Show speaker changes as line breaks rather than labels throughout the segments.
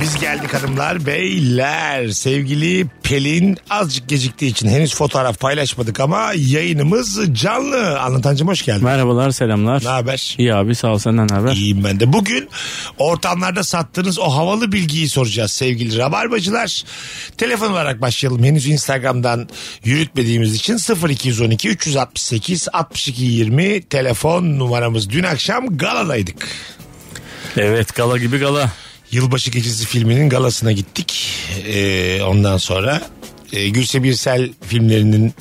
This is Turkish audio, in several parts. Biz geldik hanımlar beyler. Sevgili Pelin azıcık geciktiği için henüz fotoğraf paylaşmadık ama yayınımız canlı. Anlatancım hoş geldin.
Merhabalar, selamlar.
Ne haber?
İyi abi sağ ol senden ne haber.
İyiyim ben de. Bugün ortamlarda sattığınız o havalı bilgiyi soracağız sevgili rabarbacılar. Telefon olarak başlayalım. Henüz Instagram'dan yürütmediğimiz için 0212 368 62 20 telefon numaramız. Dün akşam galadaydık.
Evet gala gibi gala.
Yılbaşı Gecesi filminin galasına gittik. Ee, ondan sonra e, Gülse Birsel filmlerinin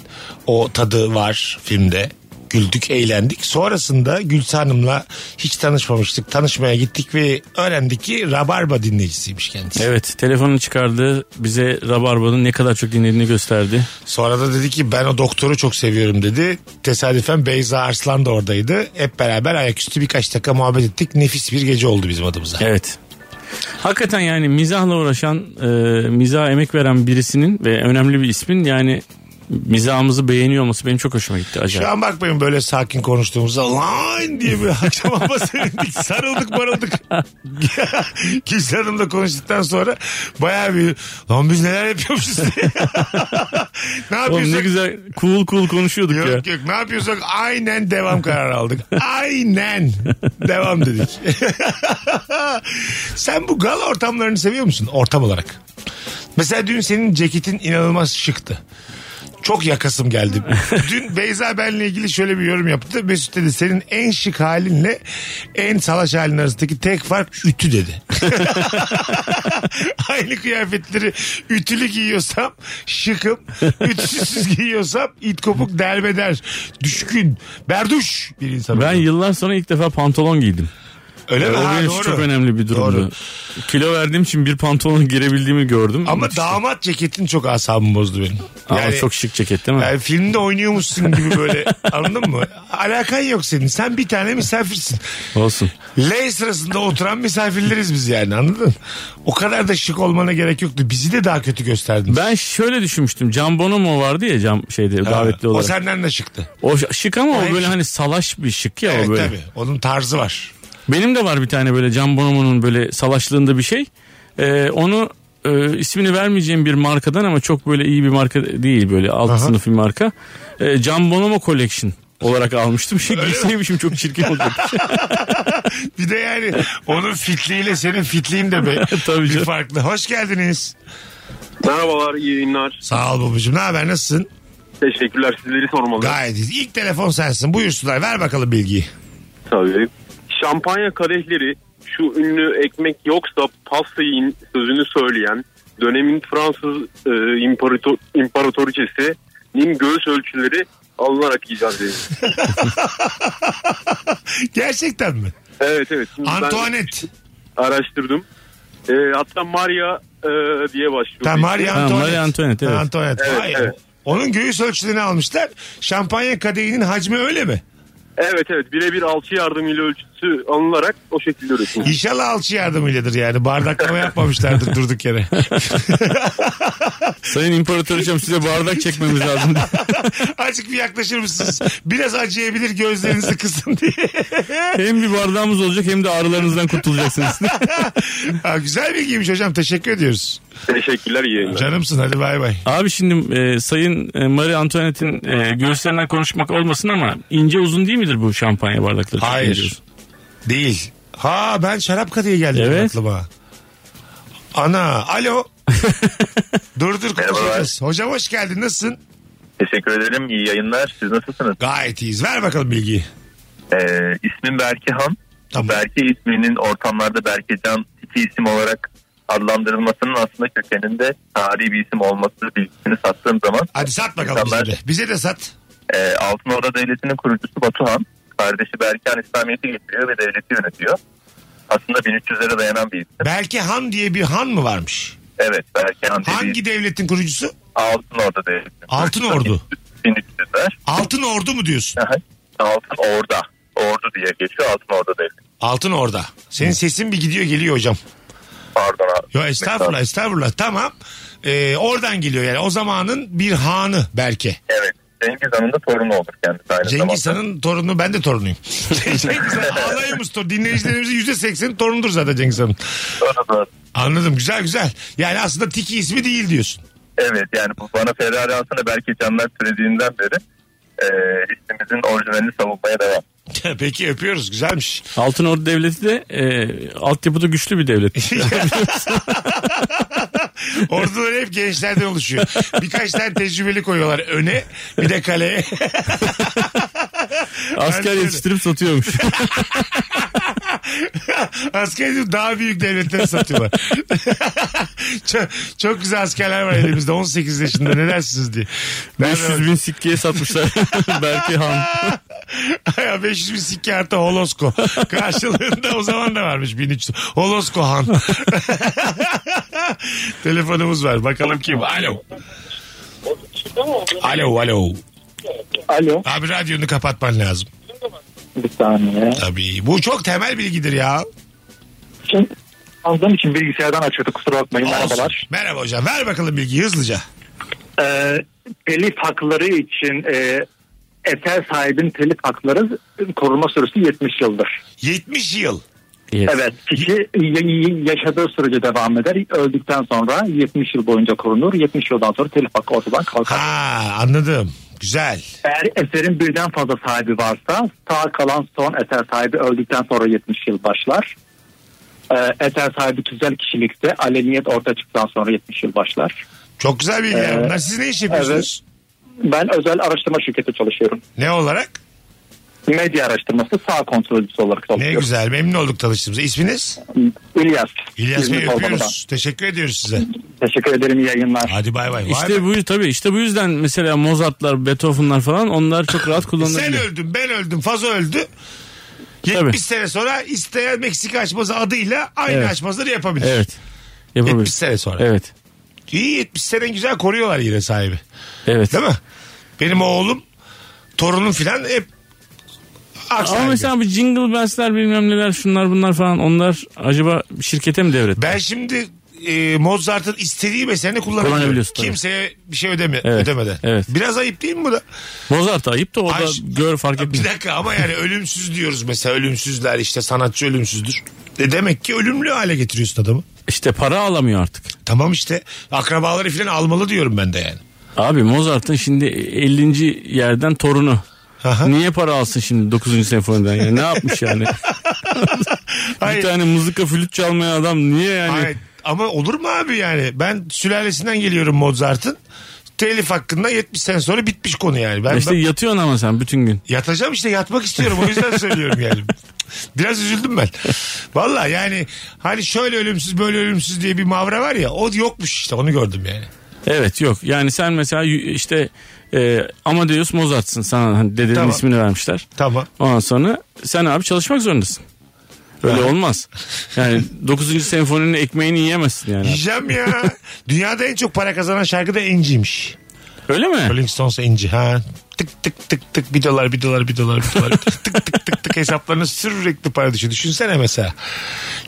o tadı var filmde. Güldük, eğlendik. Sonrasında Gülse Hanım'la hiç tanışmamıştık. Tanışmaya gittik ve öğrendik ki Rabarba dinleyicisiymiş kendisi.
Evet telefonunu çıkardı bize Rabarba'nın ne kadar çok dinlediğini gösterdi.
Sonra da dedi ki ben o doktoru çok seviyorum dedi. Tesadüfen Beyza Arslan da oradaydı. Hep beraber ayaküstü birkaç dakika muhabbet ettik. Nefis bir gece oldu bizim adımıza.
Evet. Hakikaten yani mizahla uğraşan, e, mizaha emek veren birisinin ve önemli bir ismin yani mizahımızı beğeniyor olması benim çok hoşuma gitti
Şu
acayip.
an bakmayın böyle sakin konuştuğumuzda lan diye bir akşam ama sevindik. Sarıldık barıldık. Kimse Hanım'la konuştuktan sonra bayağı bir lan biz neler yapıyormuşuz diye. ne
Oğlum
yapıyorsak?
ne güzel cool cool konuşuyorduk ya.
Yok yok ne yapıyorsak aynen devam kararı aldık. Aynen devam dedik. Sen bu gala ortamlarını seviyor musun ortam olarak? Mesela dün senin ceketin inanılmaz şıktı. Çok yakasım geldi. Dün Beyza benle ilgili şöyle bir yorum yaptı. Mesut dedi senin en şık halinle en salaş halin arasındaki tek fark ütü dedi. Aynı kıyafetleri ütülü giyiyorsam şıkım, ütüsüz giyiyorsam it kopuk derbeder, düşkün, berduş bir insanım.
Ben yıllar sonra ilk defa pantolon giydim.
Öyle mi?
o
Ha,
benim için
doğru.
çok önemli bir durumdu.
Doğru.
Kilo verdiğim için bir pantolon girebildiğimi gördüm.
Ama damat ceketin çok asabımı bozdu benim.
Ama çok şık ceket değil mi?
Yani filmde oynuyormuşsun gibi böyle anladın mı? Alakan yok senin. Sen bir tane misafirsin.
Olsun.
L sırasında oturan misafirleriz biz yani anladın? O kadar da şık olmana gerek yoktu. Bizi de daha kötü gösterdin.
Ben şöyle düşünmüştüm. Can Bonomo vardı ya cam şeyde davetli
o
olarak. O,
senden de şıktı.
şık ama
Hayır.
o böyle hani salaş bir şık ya
Evet
o böyle.
tabii. Onun tarzı var.
Benim de var bir tane böyle Can Bonomo'nun böyle salaşlığında bir şey. Ee, onu e, ismini vermeyeceğim bir markadan ama çok böyle iyi bir marka değil böyle alt sınıf bir marka. Ee, Can Bonomo Collection olarak almıştım. Şey giyseymişim çok çirkin olacakmış.
Bir de yani onun fitliğiyle senin fitliğin de be.
Tabii
bir
canım.
farklı. Hoş geldiniz.
Merhabalar, iyi yayınlar.
Sağ ol babacığım. Ne haber nasılsın?
Teşekkürler, sizleri sormalı.
Gayet iyiyiz. İlk telefon sensin. Buyursunlar. Ver bakalım bilgiyi.
Tabii. Şampanya kadehleri, şu ünlü ekmek yoksa pasta yiyin sözünü söyleyen dönemin Fransız e, imparator, imparatoriçesinin göğüs ölçüleri alınarak icat edildi.
Gerçekten mi?
Evet evet. Şimdi ben
Antoinette.
araştırdım. E, hatta Maria e, diye başlıyor.
Tamam Marie
Ha,
Antoinette.
Marie Antoinette, evet.
Antoinette.
Evet,
Vay.
evet.
Onun göğüs ölçülerini almışlar. Şampanya kadehinin hacmi öyle mi?
Evet evet birebir alçı yardımıyla ölçüsü alınarak o şekilde üretildi.
İnşallah alçı yardımıyladır yani. Bardaklama yapmamışlardır durduk yere.
Sayın İmparatoriçem size bardak çekmemiz lazım.
Azıcık bir yaklaşır mısınız? Biraz acıyabilir gözlerinizi kısın diye.
hem bir bardağımız olacak hem de ağrılarınızdan kurtulacaksınız.
ha, güzel bilgiymiş hocam. Teşekkür ediyoruz.
Teşekkürler iyi yayınlar.
Canımsın hadi bay bay.
Abi şimdi e, Sayın e, Marie Antoinette'in e, göğüslerinden konuşmak olmasın ama ince uzun değil midir bu şampanya bardakları?
Hayır.
Ne diyorsun?
Değil. Ha ben şarap kadehi geldi benim
Evet.
aklıma. Ana alo. dur dur konuşacağız. Hocam hoş geldin nasılsın?
Teşekkür ederim. İyi yayınlar. Siz nasılsınız?
Gayet iyiyiz. Ver bakalım bilgiyi.
Ee, ismim Berkehan.
Tamam.
Berke isminin ortamlarda Berkecan tipi isim olarak adlandırılmasının aslında kökeninde tarihi bir isim olması bilgisini sattığım zaman
Hadi sat bakalım bize
İnsanlar-
de. Bize de sat.
e, Altın Orda Devleti'nin kurucusu Batuhan kardeşi Berkehan İslamiyet'i getiriyor ve devleti yönetiyor. Aslında 1300'lere dayanan bir isim.
Belki Han diye bir han mı varmış?
Evet Berkehan dediği
Hangi devletin kurucusu?
Altın Orda Devleti.
Altın Ordu.
1300'ler.
Altın Ordu mu diyorsun?
Aha. Altın Orda. Ordu diye geçiyor Altın Orda Devleti.
Altın Orda. Senin sesin bir gidiyor geliyor hocam.
pardon abi.
Yo estağfurullah estağfurullah tamam. Ee, oradan geliyor yani o zamanın bir hanı Berke.
Evet. Cengiz Han'ın da torunu olur kendisi aynı
Cengiz
zamanda.
Han'ın torunu ben de torunuyum. Cengiz Han alayımız torunu. Dinleyicilerimizin yüzde sekseni torunudur zaten Cengiz Han'ın.
Doğru, doğru.
Anladım güzel güzel. Yani aslında Tiki ismi değil diyorsun.
Evet yani bu bana Ferrari aslında belki canlar türediğinden beri e, ismimizin orijinalini savunmaya devam.
Peki öpüyoruz güzelmiş.
Altın Ordu Devleti de e, altyapıda güçlü bir devlet.
Ordular hep gençlerden oluşuyor. Birkaç tane tecrübeli koyuyorlar öne bir de kaleye.
Asker
öyle.
yetiştirip satıyormuş.
Askeri daha büyük devletlere satıyorlar. çok, çok güzel askerler var elimizde 18 yaşında ne dersiniz diye. Ben
500 bin sikkiye satmışlar. Berke Han.
Ya 500 bin sikke artı Holosko. Karşılığında o zaman da varmış 1300. Holosko Han. Telefonumuz var. Bakalım kim? Alo. Alo alo.
Alo.
Abi radyonu kapatman lazım.
Bir saniye.
Tabii. Bu çok temel bilgidir ya.
Şimdi aldığım için bilgisayardan açıyorduk kusura bakmayın. Merhabalar.
Olsun. Merhaba hocam. Ver bakalım bilgiyi hızlıca.
Ee, telif hakları için e, eser sahibinin telif hakları koruma süresi 70 yıldır.
70 yıl.
Evet. Kişi y- y- yaşadığı sürece devam eder. Öldükten sonra 70 yıl boyunca korunur. 70 yıldan sonra telif hakkı ortadan kalkar.
Ha anladım. Güzel.
Eğer eserin birden fazla sahibi varsa sağ kalan son eser sahibi öldükten sonra 70 yıl başlar. Ee, eser sahibi tüzel kişilikse aleniyet ortaya çıktıktan sonra 70 yıl başlar.
Çok güzel bilgiler
Ee,
bunlar. Siz ne iş yapıyorsunuz?
Ben özel araştırma şirketi çalışıyorum.
Ne olarak?
Medya araştırması sağ kontrolcüsü olarak
Ne
çalışıyorum.
güzel. Memnun olduk tanıştığımıza. İsminiz?
İlyas.
İlyas Bey
İzmir Kalkanı'dan.
öpüyoruz. Teşekkür ediyoruz size.
Teşekkür ederim iyi yayınlar.
Hadi bay bay. Vay be.
İşte bu tabii işte bu yüzden mesela Mozart'lar, Beethoven'lar falan onlar çok rahat
Sen
kullanılabiliyor.
öldün, ben öldüm, Fazo öldü. 70 sene sonra isteyen Meksika açmazı adıyla aynı
Evet.
açmazları yapabilir.
Evet.
70
Yapabilir.
sene sonra.
Evet.
İyi 70 sene güzel koruyorlar yine sahibi.
Evet.
Değil mi? Benim oğlum, torunum filan hep ak
Ama
sahibi.
mesela bu jingle bells'ler bilmem neler şunlar bunlar falan onlar acaba şirkete mi devret?
Ben şimdi e, Mozart'ın istediği eserini kullanabiliyorum.
Kullanabiliyorsun tabii.
Kimseye bir şey ödeme,
Evet,
ödemeden.
evet.
Biraz ayıp değil mi bu da?
Mozart ayıp da o
Ay-
da gör fark
Bir
etmiyor.
dakika ama yani ölümsüz diyoruz mesela ölümsüzler işte sanatçı ölümsüzdür. E demek ki ölümlü hale getiriyorsun adamı.
İşte para alamıyor artık.
Tamam işte akrabaları falan almalı diyorum ben de yani.
Abi Mozart'ın şimdi 50. yerden torunu.
Aha.
Niye para alsın şimdi 9. senfoniden ya? Ne yapmış yani? bir
Hayır.
tane hani- mızıka flüt çalmayan adam niye yani?
Hayır. Ama olur mu abi yani? Ben sülalesinden geliyorum Mozart'ın. Telif hakkında 70 sene sonra bitmiş konu yani. Ben,
İşte
ben
yatıyorsun ama sen bütün gün.
yatacağım işte yatmak istiyorum. O yüzden söylüyorum yani. Biraz üzüldüm ben. Valla yani hani şöyle ölümsüz böyle ölümsüz diye bir mavra var ya o yokmuş işte onu gördüm yani.
Evet yok yani sen mesela y- işte e, Amadeus Mozart'sın sana hani dedenin
Tamam.
ismini vermişler.
Tamam.
Ondan sonra sen abi çalışmak zorundasın. Öyle olmaz. Yani 9. senfoninin ekmeğini yiyemezsin yani.
Yiyeceğim ya. Dünyada en çok para kazanan şarkı da Enci'ymiş.
Öyle mi?
Rolling Stones Enci ha. Tık tık tık tık bir dolar bir dolar bir dolar bir dolar tık tık tık tık tık hesaplarına sürekli para düşüyor. Düşünsene mesela.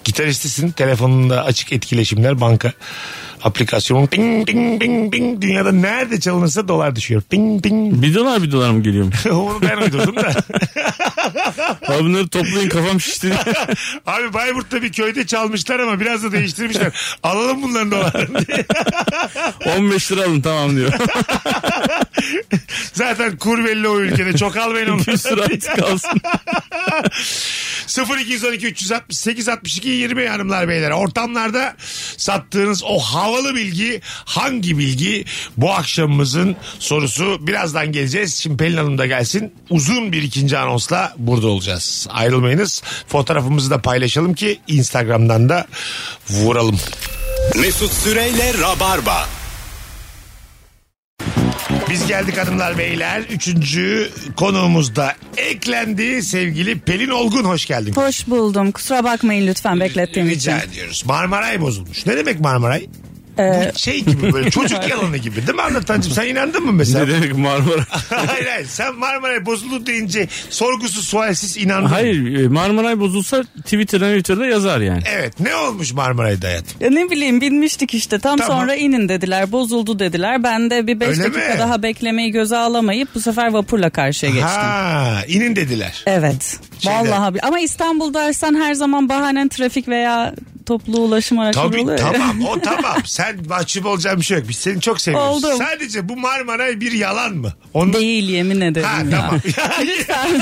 Gitaristisin telefonunda açık etkileşimler banka aplikasyonun ping ping ping ping dünyada nerede çalınırsa dolar düşüyor. Ping ping.
Bir dolar bir dolar mı geliyormuş?
Onu ben uydurdum da.
Abi bunları toplayın kafam şişti.
Abi Bayburt'ta bir köyde çalmışlar ama biraz da değiştirmişler. Alalım bunların dolarını diye.
15 lira alın tamam diyor.
Zaten kur belli o ülkede. Çok almayın
Bir
onları.
sürü artık kalsın.
0212 368 62 20 hanımlar beyler. Ortamlarda sattığınız o havalı bilgi hangi bilgi? Bu akşamımızın sorusu birazdan geleceğiz. Şimdi Pelin Hanım da gelsin. Uzun bir ikinci anonsla burada olacağız. Ayrılmayınız. Fotoğrafımızı da paylaşalım ki Instagram'dan da vuralım.
Mesut Süreyle Rabarba.
Biz geldik hanımlar beyler. Üçüncü konuğumuz da eklendi. Sevgili Pelin Olgun hoş geldin.
Hoş buldum. Kusura bakmayın lütfen beklettiğim için.
Rica ediyoruz. Marmaray bozulmuş. Ne demek Marmaray?
Ee,
Bu şey gibi böyle çocuk yalanı gibi değil mi anlatancım sen inandın mı mesela?
Ne demek Marmara?
hayır hayır sen Marmara'ya bozuldu deyince sorgusuz sualsiz inandın.
Hayır e, Marmaray bozulsa Twitter'dan Twitter'da yazar yani.
Evet ne olmuş Marmaray'da hayatım?
Ya ne bileyim binmiştik işte tam
Tamam.
sonra inin dediler bozuldu dediler. Ben de bir 5
Öyle
dakika
mi?
daha beklemeyi göze alamayıp bu sefer vapurla karşıya geçtim.
Ha inin dediler.
Evet.
Şeyler.
Vallahi bir- ama İstanbul dersen her zaman bahanen trafik veya toplu ulaşım araçları
Tabii
oluyor. ya.
tamam o tamam. Sen mahcup olacağın bir şey yok. Biz seni çok seviyoruz.
Oldum.
Sadece bu Marmaray bir yalan mı? Ondan...
Değil yemin ederim
Ha
ya.
tamam.
Lütfen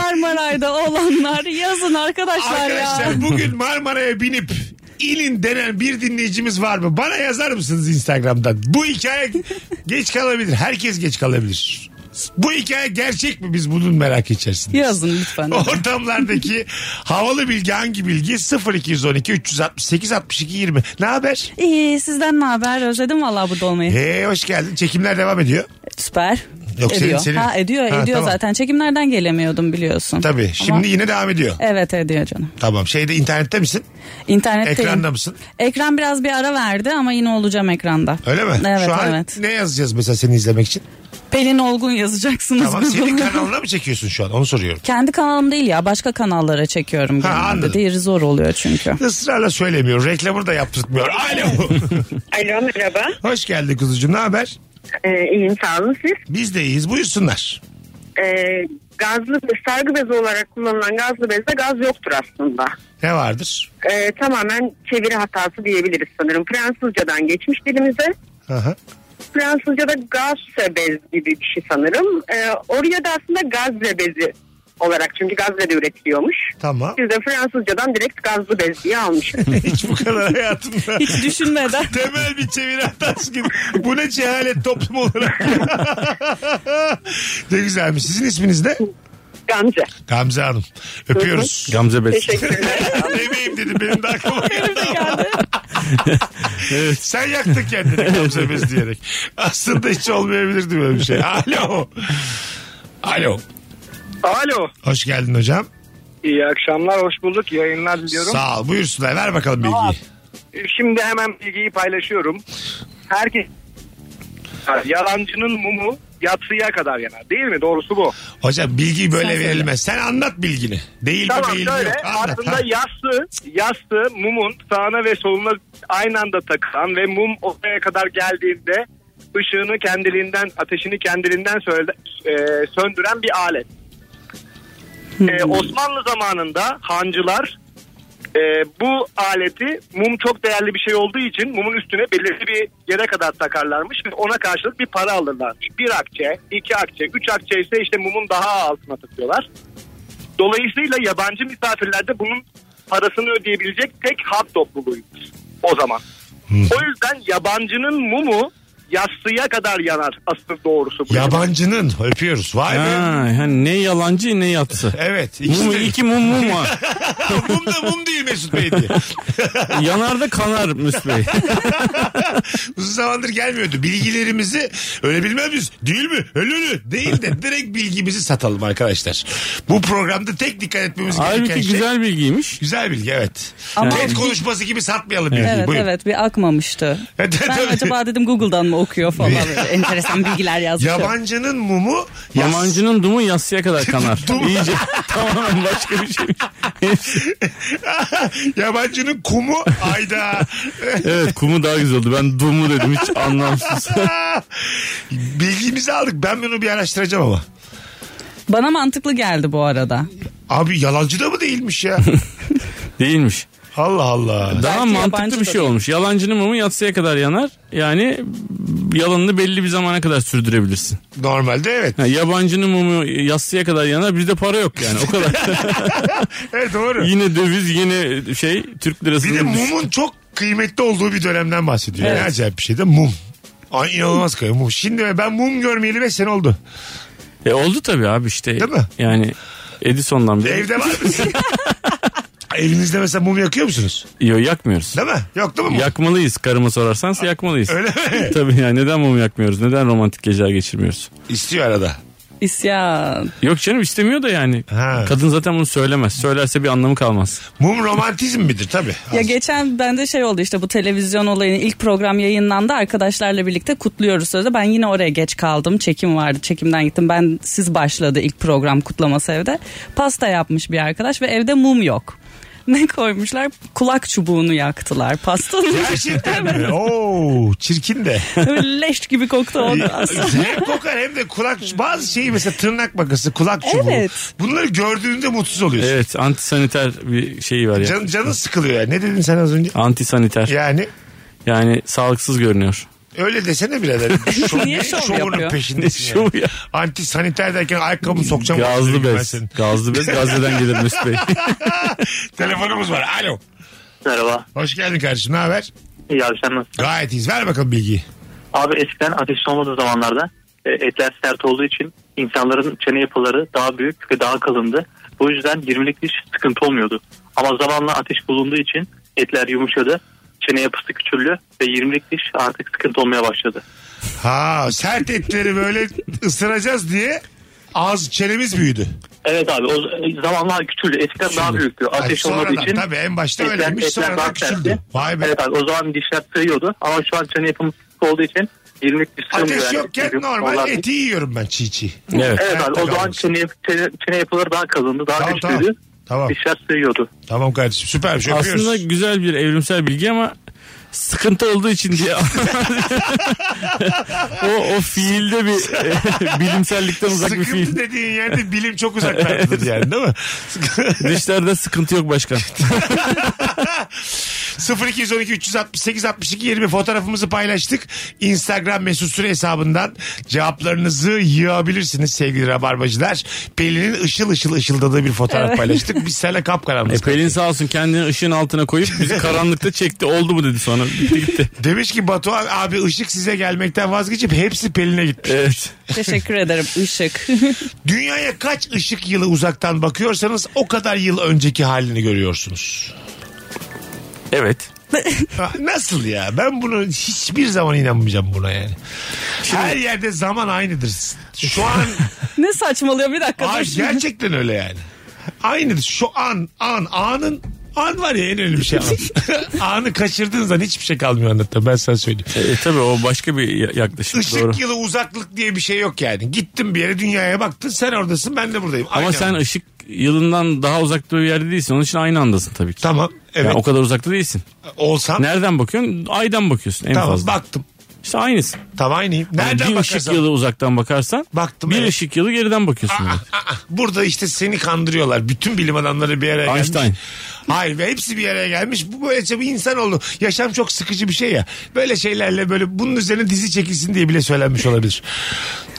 Marmaray'da olanlar yazın arkadaşlar, ya.
Arkadaşlar bugün Marmara'ya binip inin denen bir dinleyicimiz var mı? Bana yazar mısınız Instagram'dan? Bu hikaye geç kalabilir. Herkes geç kalabilir. Bu hikaye gerçek mi? Biz bunun merakı içerisindeyiz.
Yazın lütfen.
Oh. Ortamlardaki havalı bilgi hangi bilgi? 0212 368 62 20. Ne haber?
İyi sizden ne haber? Özledim vallahi burada olmayı.
Hey hoş geldin. Çekimler devam ediyor.
Süper.
Yok, senin-
ediyor.
senin-
Ha ediyor,
Ha,
ediyor
tamam.
zaten. Çekimlerden gelemiyordum biliyorsun.
Tabii. Şimdi
Ama-
yine devam ediyor.
Evet ediyor canım.
Tamam. Şeyde internette misin?
İnternetteyim.
Ekranda mısın?
Ekran biraz bir ara verdi ama yine olacağım ekranda.
Öyle mi?
Evet
Şu an
evet.
ne yazacağız mesela seni izlemek için?
Pelin Olgun yazacaksınız.
Tamam
Google'a.
senin kanalına mı çekiyorsun şu an onu soruyorum.
Kendi kanalım değil ya başka kanallara çekiyorum.
Ha,
genelde.
anladım.
Diğeri zor oluyor çünkü.
Israrla söylemiyor reklamı da yaptırtmıyor. Alo.
Alo merhaba.
Hoş geldin kuzucuğum ne haber?
Ee, iyiyim sağ olun siz.
Biz de iyiyiz buyursunlar.
Ee, gazlı sargı bezi olarak kullanılan gazlı bezde gaz yoktur aslında.
Ne vardır?
Ee, tamamen çeviri hatası diyebiliriz sanırım. Fransızcadan geçmiş dilimize.
Aha.
Fransızca'da gazze bez gibi bir şey sanırım. Ee, oraya da aslında gazze bezi olarak çünkü gazze de üretiliyormuş.
Tamam.
Biz de Fransızcadan direkt gazlı bez diye almışız.
Hiç bu kadar hayatımda.
Hiç düşünmeden.
Temel bir çeviri hatası gibi. Bu ne cehalet toplum olarak. ne güzelmiş. Sizin isminiz ne?
Gamze.
Gamze Hanım. Öpüyoruz.
Gamze Bes.
Teşekkürler.
Bebeğim dedim benim de aklıma geldi. Sen yaktın kendini Gamze Bez diyerek. Aslında hiç olmayabilirdi böyle bir şey. Alo. Alo.
Alo.
Hoş geldin hocam.
İyi akşamlar, hoş bulduk. Yayınlar diliyorum.
Sağ ol. Buyursunlar. Ver bakalım bilgiyi.
Şimdi hemen bilgiyi paylaşıyorum. Herkes yalancının mumu yatsıya kadar yanar. Değil mi? Doğrusu bu.
Hocam bilgi böyle
Sen söyle.
verilmez. Sen anlat bilgini. Değil mi
Tamam
değil mi
şöyle
yok. Anlat.
aslında
Ha.
yassı, yassı mumun sağına ve soluna aynı anda takılan ve mum oraya kadar geldiğinde ışığını kendiliğinden, ateşini kendiliğinden söyle- e, söndüren bir alet. E,
Hmm.
Osmanlı zamanında hancılar e, bu aleti mum çok değerli bir şey olduğu için mumun üstüne belirli bir yere kadar takarlarmış ve ona karşılık bir para alırlarmış. Bir akçe, iki akçe, üç akçe ise işte mumun daha altına takıyorlar. Dolayısıyla yabancı misafirlerde bunun parasını ödeyebilecek tek halk topluluğuymuş o zaman. O yüzden yabancının mumu yassıya kadar yanar asıl doğrusu. bu.
Yabancının öpüyoruz. Vay be.
Ha, yani ne yalancı ne yatsı.
Evet. İkisi
Mum
de-
iki mum mum var.
mum da mum değil Mesut Bey diye.
Yanar da kanar Müs Bey.
Uzun zamandır gelmiyordu. Bilgilerimizi öyle bilmez miyiz? Değil mi? Öyle öyle. Değil de direkt bilgimizi satalım arkadaşlar. Bu programda tek dikkat etmemiz gereken
Halbuki
şey. Güzel.
güzel bilgiymiş.
bilgi evet.
Ama
TED
o-
konuşması gibi satmayalım bilgiyi.
Evet
Buyurun.
evet bir akmamıştı.
E, tabii.
ben acaba dedim Google'dan mı okuyor falan böyle enteresan bilgiler yazmış.
Yabancının mumu yas-
Yamancının dumu yassıya kadar kanar.
Dum.
İyice tamamen başka bir şey.
Yabancının kumu ayda.
evet kumu daha güzel oldu. Ben dumu dedim hiç anlamsız.
Bilgimizi aldık. Ben bunu bir araştıracağım ama.
Bana mantıklı geldi bu arada.
Abi yalancı da mı değilmiş ya?
Değilmiş.
Allah Allah.
Daha
Belki yabancı
mantıklı bir
da
şey
değil.
olmuş. Yalancının mumu yatsıya kadar yanar. Yani yalanını belli bir zamana kadar sürdürebilirsin.
Normalde evet.
Ha, yabancının mumu yatsıya kadar yanar. Bizde para yok yani o kadar.
Evet doğru.
yine döviz yine şey Türk
Bir de
lirasının düşüşü.
mumun çok kıymetli olduğu bir dönemden bahsediyor. Ne acayip bir şey de mum. Ay inanılmaz kıyım mum. Şimdi ben mum görmeyeli 5 sene oldu.
E, oldu tabii abi işte.
Değil mi?
Yani Edison'dan beri.
Evde var mısın? Evinizde mesela mum yakıyor musunuz?
Yok yakmıyoruz.
Değil mi? Yok değil mi? mum?
Yakmalıyız karıma sorarsan yakmalıyız.
Öyle mi?
Tabii yani neden mum yakmıyoruz? Neden romantik geceler geçirmiyoruz?
İstiyor arada.
İsyan.
Yok canım istemiyor da yani.
Ha.
Kadın zaten bunu söylemez. Söylerse bir anlamı kalmaz.
Mum romantizm midir tabii.
Ya geçen bende şey oldu işte bu televizyon olayının ilk program yayınlandı. Arkadaşlarla birlikte kutluyoruz sözde. Ben yine oraya geç kaldım. Çekim vardı. Çekimden gittim. Ben siz başladı ilk program kutlaması evde. Pasta yapmış bir arkadaş ve evde mum yok. Ne koymuşlar? Kulak çubuğunu yaktılar pastanın.
Gerçekten mi? Oo, çirkin de.
Böyle Leş gibi koktu onu aslında.
hem kokar hem de kulak bazı şeyi mesela tırnak makası kulak çubuğu.
Evet.
Bunları gördüğünde mutsuz oluyorsun.
Evet antisaniter bir şeyi var ya.
Can, canın sıkılıyor ya. Ne dedin sen az önce?
Antisaniter.
Yani
Yani sağlıksız görünüyor.
öyle desene birader. Şov,
Niye
ne
şov
şovunun
yapıyor?
peşindesin
Şov
yani.
ya.
Anti saniter derken ayakkabımı sokacağım.
Gazlı
Ben
bez.
senin.
Gazlı bez Gazze'den gelir Mesut Bey.
Telefonumuz var. Alo.
Merhaba.
Hoş geldin kardeşim. Ne haber?
İyi abi sen nasılsın?
Gayet iyiyiz. Ver bakalım bilgiyi.
Abi eskiden ateşin olmadığı zamanlarda e, etler sert olduğu için insanların çene yapıları daha büyük ve daha kalındı. Bu yüzden 20'lik diş sıkıntı olmuyordu. Ama zamanla ateş bulunduğu için etler yumuşadı. Çene yapısı küçüldü ve 20'lik diş artık sıkıntı olmaya başladı.
Ha sert etleri böyle ısıracağız diye ağız çenemiz büyüdü.
Evet abi o zamanlar küçüldü. Eskiden daha büyüktü.
Ay,
Ateş olmadığı
sonradan
için.
tabii en başta
etler-
öyleymiş
etler
sonradan
daha
küçüldü.
sertti.
Vay be.
Evet abi o zaman dişler sığıyordu ama şu an çene yapımı sıkı olduğu için 20'lik diş sığmıyor.
Ateş
Yani
yokken
çünkü
normal
onlar-
eti yiyorum ben çiğ çiğ.
Evet.
Evet abi o
Hayatta
zaman
kalmış.
çene, çene, çene yapıları daha kalındı. Daha
Tamam,
güçlüydü.
tamam. Tamam.
Dişler sığıyordu.
Tamam kardeşim süpermiş öpüyoruz.
Aslında güzel bir evrimsel bilgi ama sıkıntı olduğu için diye o, o fiilde bir e, bilimsellikten uzak bir
Sıkıntı
fiil.
dediğin yerde bilim çok uzaklardadır yani değil mi?
Dişlerde sıkıntı yok başkan.
0212 368 62 20 fotoğrafımızı paylaştık. Instagram mesut süre hesabından cevaplarınızı yığabilirsiniz sevgili rabarbacılar. Pelin'in ışıl ışıl ışıldadığı bir fotoğraf paylaştık. Biz seninle
E,
kapkaranlık.
Pelin sağ olsun kendini ışığın altına koyup bizi karanlıkta çekti. Oldu mu dedi sonra. Bitti gitti.
Demiş ki Batuhan abi ışık size gelmekten vazgeçip hepsi Pelin'e gitmiş.
Evet.
Teşekkür ederim Işık.
Dünyaya kaç ışık yılı uzaktan bakıyorsanız o kadar yıl önceki halini görüyorsunuz.
Evet.
Ha, Nasıl ya? Ben bunu hiçbir zaman inanmayacağım buna yani. Her yerde zaman aynıdır. Şu an
ne saçmalıyor bir dakika.
Ay,
dur.
gerçekten öyle yani. Aynıdır. Şu an, an, anın an var ya en önemli bir şey an. Anı kaçırdığın zaman hiçbir şey kalmıyor anlatta. Ben sana söyleyeyim.
E, tabii o başka bir ya- yaklaşım.
Işık
Doğru.
yılı uzaklık diye bir şey yok yani. Gittim bir yere dünyaya baktın sen oradasın ben de buradayım.
Ama
Aynı
sen
anda.
ışık yılından daha uzakta bir yerde değilsin. Onun için aynı andasın tabii ki.
Tamam evet
Yani o kadar uzakta değilsin.
olsam
Nereden bakıyorsun? Aydan bakıyorsun en
tamam
fazla.
baktım.
İşte aynısın.
Tamam aynıyım.
Yani
Nereden
bir ışık
bakarsan.
yılı uzaktan bakarsan
Baktım,
bir
evet.
ışık yılı geriden bakıyorsun.
Ah,
demek.
ah, ah. Burada işte seni kandırıyorlar. Bütün bilim adamları bir araya gelmiş.
Einstein.
Hayır ve hepsi bir araya gelmiş. Bu böylece bir insan oldu. Yaşam çok sıkıcı bir şey ya. Böyle şeylerle böyle bunun üzerine dizi çekilsin diye bile söylenmiş olabilir.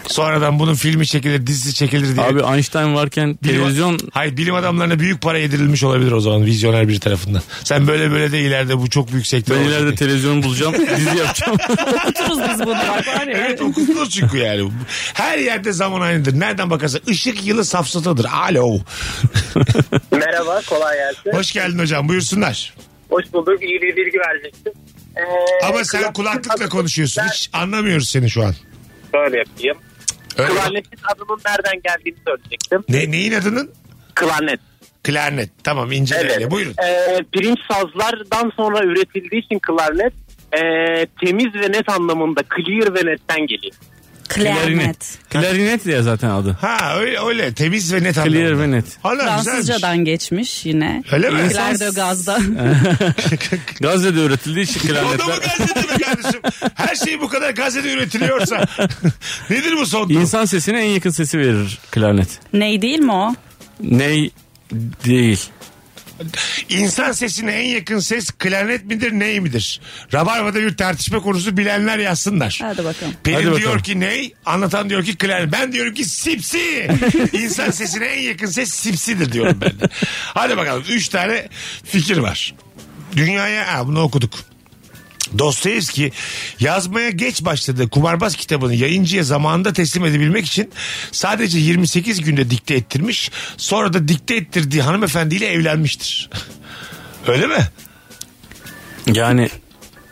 Sonradan bunun filmi çekilir, dizisi çekilir diye.
Abi Einstein varken
Bilim-
televizyon
Hayır bilim adamlarına büyük para yedirilmiş olabilir o zaman vizyoner bir tarafından. Sen böyle böyle de ileride bu çok büyük sektör
ben
olacak
ileride
diye.
televizyon bulacağım dizi yapacağım.
Otururuz biz bunu bak var ya.
Evet okutulur çünkü yani. Her yerde zaman aynıdır. Nereden bakarsan ışık yılı safsatadır. Alo.
Merhaba kolay gelsin.
Hoş geldin hocam buyursunlar.
Hoş bulduk iyi bir bilgi verecektim. Ee,
Ama sen kulaklıkla konuşuyorsun. Hiç anlamıyoruz seni şu an.
Böyle yapayım.
Öyle.
Klarnetin adının nereden geldiğini söyleyecektim.
Ne, neyin adının?
Klarnet.
Klarnet. Tamam ince
Evet.
lale. Buyurun.
Ee, pirinç sazlardan sonra üretildiği için klarnet e, temiz ve net anlamında clear ve netten geliyor.
Klarinet. Klarinet diye zaten adı.
Ha öyle öyle temiz ve net anlamda.
Clear ve net.
Ana, güzelmiş.
Fransızcadan geçmiş yine.
Öyle mi?
İlgiler de gazda.
Gazze'de öğretildiği için
O da mı
klarnetler.
gazete be kardeşim? Her şey bu kadar gazete üretiliyorsa. Nedir bu son durum?
İnsan sesine en yakın sesi verir klarnet.
Ney değil mi o?
Ney değil.
İnsan sesine en yakın ses klarnet midir ney midir? Rabarba'da bir tartışma konusu bilenler yazsınlar.
Hadi bakalım.
Hadi
Pelin
bakalım.
diyor ki ney? Anlatan diyor ki klarnet. Ben diyorum ki sipsi. İnsan sesine en yakın ses sipsidir diyorum ben de. Hadi bakalım. Üç tane fikir var. Dünyaya ha, bunu okuduk. Dostoyevski yazmaya geç başladığı Kumarbaz kitabını yayıncıya zamanında teslim edebilmek için sadece 28 günde dikte ettirmiş. Sonra da dikte ettirdiği hanımefendiyle evlenmiştir. Öyle mi?
Yani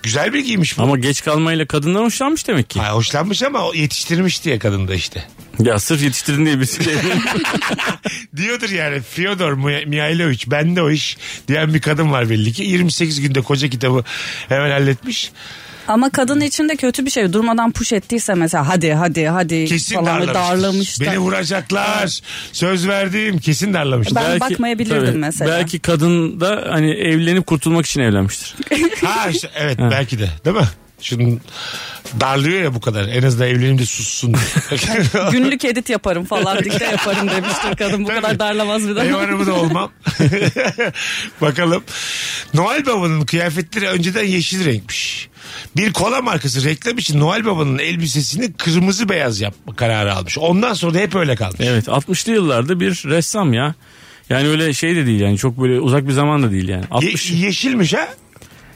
Güzel bilgiymiş bu.
ama geç kalmayla kadından hoşlanmış demek ki.
Ha, hoşlanmış ama o yetiştirmiş diye kadında işte.
Ya sırf yetiştirin diye şey- birisiyle evlenin.
Diyordur yani Fyodor Mi- Mihailovic bende o iş diyen bir kadın var belli ki. 28 günde koca kitabı hemen halletmiş.
Ama kadın için de kötü bir şey. Durmadan push ettiyse mesela hadi hadi hadi
Kesin
falan böyle
darlamış.
darlamış da.
Beni vuracaklar. Söz verdim. Kesin darlamış.
Ben bakmayabilirdim mesela.
Belki kadın da hani evlenip kurtulmak için evlenmiştir.
Ha işte evet belki de değil mi? Şunun darlıyor ya bu kadar. En azından evlenim de sussun.
Günlük edit yaparım falan dikte yaparım demiştir kadın. Bu
Tabii.
kadar darlamaz bir
Ev
de.
hanımı da olmam. Bakalım. Noel Baba'nın kıyafetleri önceden yeşil renkmiş. Bir kola markası reklam için Noel Baba'nın elbisesini kırmızı beyaz yapma kararı almış. Ondan sonra da hep öyle kalmış.
Evet 60'lı yıllarda bir ressam ya. Yani öyle şey de değil yani çok böyle uzak bir zaman da değil yani. 60
Ye- yeşilmiş ha?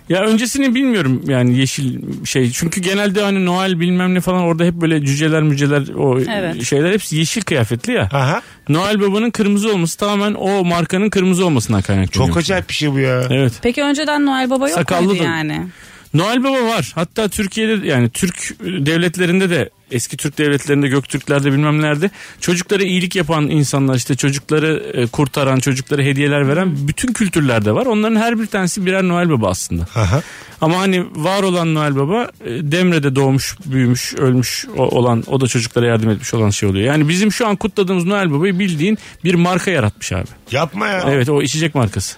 Ya öncesini bilmiyorum yani yeşil şey. Çünkü genelde hani Noel bilmem ne falan orada hep böyle cüceler müceler o
Evet.
şeyler hepsi yeşil kıyafetli ya.
Aha.
Noel Baba'nın kırmızı olması tamamen o markanın kırmızı olmasından kaynaklanıyor.
Çok acayip bir şey bu ya.
Evet.
Peki önceden Noel Baba yok
Sakallı
muydu
da-
yani?
Noel Baba var. Hatta Türkiye'de yani Türk devletlerinde de eski Türk devletlerinde Göktürklerde bilmem nelerde çocuklara iyilik yapan insanlar işte çocukları e, kurtaran çocuklara hediyeler veren bütün kültürlerde var. Onların her bir tanesi birer Noel Baba aslında.
Aha.
Ama hani var olan Noel Baba e, Demre'de doğmuş, büyümüş, ölmüş o- olan o da çocuklara yardım etmiş olan şey oluyor. Yani bizim şu an kutladığımız Noel Baba'yı bildiğin bir marka yaratmış abi.
Yapma ya.
Evet o içecek markası.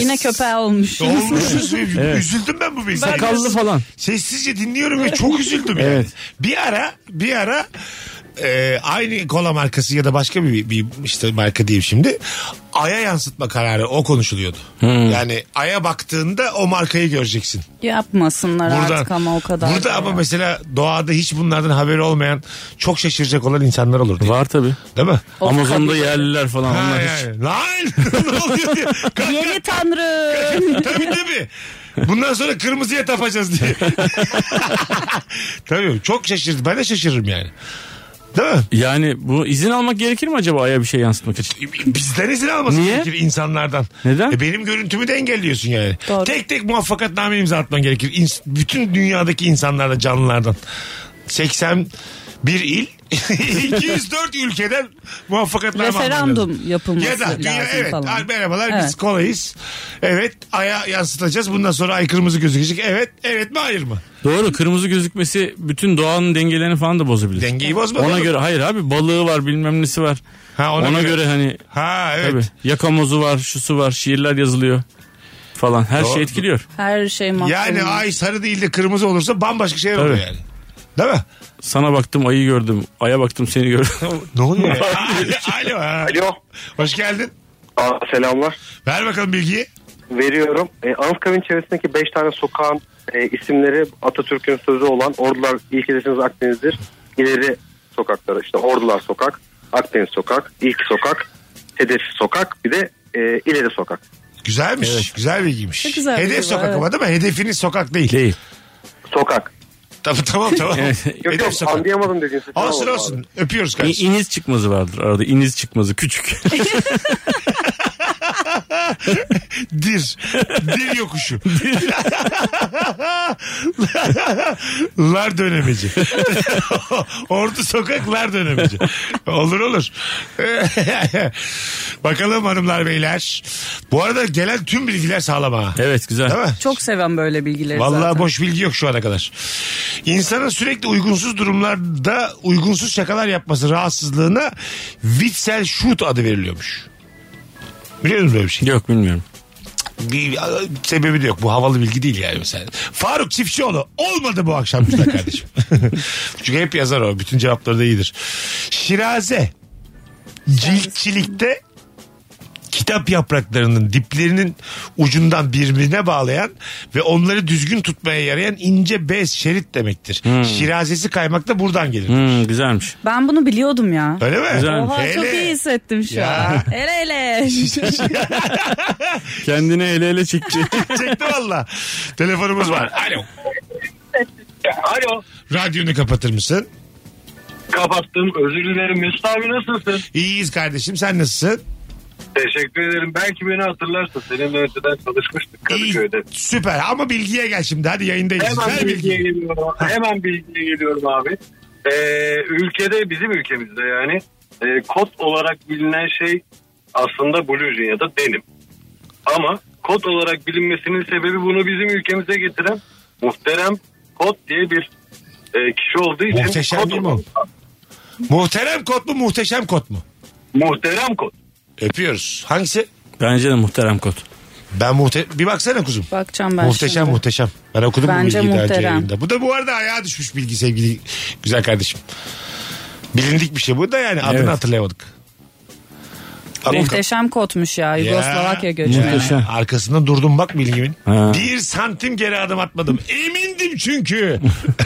Yine köpeğe olmuş.
Olmuşuz. Üzüldüm ben bu bilgiye.
Sakallı falan.
Sessizce dinliyorum ve çok üzüldüm yani.
Evet.
Bir ara bir ara e, aynı kola markası ya da başka bir, bir işte marka diyeyim şimdi. Aya yansıtma kararı o konuşuluyordu.
Hmm.
Yani aya baktığında o markayı göreceksin.
Yapmasınlar artık ama o kadar.
Burada
da
ama
ya.
mesela doğada hiç bunlardan haberi olmayan çok şaşıracak olan insanlar olur. Değil,
Var tabii.
değil mi?
Amazon'da yerliler falan.
Ha,
Onlar hiç-
yani. Lan ne oluyor diye. Kanka,
Yeni tanrı.
tabii tabii. Bundan sonra kırmızıya tapacağız diye. tabii çok şaşırdım. Ben de şaşırırım yani. Değil mi?
Yani bu izin almak gerekir mi acaba aya bir şey yansıtmak için?
Bizden izin almasın
Niye?
gerekir insanlardan.
Neden?
E benim görüntümü de engelliyorsun yani.
Doğru.
Tek tek muvaffakatname imza atman gerekir. İns- bütün dünyadaki insanlardan, canlılardan. 81 il, 204 ülkeden muvaffakatname alman lazım.
Referandum yapılması
Ya da dünya,
lazım
evet
falan.
"Ay, merhabalar biz
Evet.
kolayız. Evet aya yansıtacağız. Bundan sonra ay kırmızı gözükecek. Evet, evet mi hayır mı?
Doğru kırmızı gözükmesi bütün doğanın dengelerini falan da bozabilir.
Dengeyi bozma.
ona
oğlum.
göre hayır abi balığı var bilmem nesi var.
Ha,
ona, göre, hani
Ha evet.
tabii, yakamozu var şusu var şiirler yazılıyor falan her
Doğru.
şey etkiliyor.
Her şey mahvolmuş.
Yani ay sarı değil de kırmızı olursa bambaşka şeyler
Tabii.
oluyor yani. Değil mi?
Sana baktım ayı gördüm aya baktım seni gördüm.
Ne oluyor? ya? Alo. ha.
Alo.
Hoş geldin.
Aa, selamlar.
Ver bakalım bilgiyi.
Veriyorum. E, Anıtkabir'in çevresindeki 5 tane sokağın e, isimleri Atatürk'ün sözü olan Ordular ilk edesiniz Akdeniz'dir. İleri sokakları işte Ordular Sokak, Akdeniz Sokak, İlk Sokak, Hedef Sokak bir de e, İleri Sokak.
Güzelmiş. Güzel bilgiymiş.
Çok güzel
Hedef
bilgi bu,
sokak
evet.
ama değil mi? Hedefiniz sokak değil.
Değil.
Sokak.
Tamam tamam tamam.
Evet.
Yok
Hedef
yok
sokak.
anlayamadım dediğin sesi.
Olsun
Tamam
olsun. Öpüyoruz
İ-
kardeşim.
İniz çıkmazı vardır arada iniz çıkmazı küçük.
Dir. Dir yokuşu. lar dönemeci. Ordu sokak lar dönemeci. Olur olur. Bakalım hanımlar beyler. Bu arada gelen tüm bilgiler sağlam ha.
evet güzel.
Değil mi?
Çok seven böyle bilgileri
Vallahi
zaten.
boş bilgi yok şu ana kadar. İnsanın sürekli uygunsuz durumlarda uygunsuz şakalar yapması rahatsızlığına Witzel shoot adı veriliyormuş. Biliyor musun böyle bir şey?
Yok bilmiyorum.
Bir a, sebebi de yok. Bu havalı bilgi değil yani mesela. Faruk Çiftçioğlu olmadı bu akşam bizde kardeşim. Çünkü hep yazar o. Bütün cevapları da iyidir. Şiraze. Ciltçilikte kitap yapraklarının diplerinin ucundan birbirine bağlayan ve onları düzgün tutmaya yarayan ince bez şerit demektir. Şirazesi kaymak da buradan gelir.
Hmm, güzelmiş.
Ben bunu biliyordum ya.
Öyle mi?
Güzel.
Oha çok
Hele.
iyi hissettim şu
Ya.
an. Hele hele.
Kendini ele ele çekti.
Çekti valla. Telefonumuz var. Alo.
Alo.
Radyonu kapatır mısın?
Kapattım. Özür dilerim. Mesut abi nasılsın?
İyiyiz kardeşim. Sen nasılsın?
Teşekkür ederim. Belki beni hatırlarsın. Seninle önceden çalışmıştık
İyi,
Kadıköy'de.
Süper ama bilgiye gel şimdi hadi yayındayız.
Hemen
Ver
bilgiye
bilgiyi.
geliyorum. Hemen bilgiye geliyorum abi.
e, ülkede bizim ülkemizde yani e, kod olarak bilinen şey aslında blujin ya da denim. Ama kod olarak bilinmesinin sebebi bunu bizim ülkemize getiren muhterem kod diye bir e, kişi olduğu için
Muhteşem
kod
değil mi o? Muhterem kot mu muhteşem kot mu?
Muhterem kod.
Öpüyoruz. Hangisi?
Bence de muhterem kod.
Ben muhte bir baksana kuzum.
Bakacağım ben
muhteşem
şimdi.
muhteşem. Ben okudum bu
Bence
bilgiyi daha önce
muhterem.
yayında. Bu da bu arada ayağa düşmüş bilgi sevgili güzel kardeşim. Bilindik bir şey bu da yani adını
Evet.
hatırlayamadık. Ama
Muhteşem kotmuş ya Yugoslavakya göçmeni.
Muhteşem.
Arkasında durdum bak bilgimin.
Ha.
Bir santim geri adım atmadım. Emindim çünkü.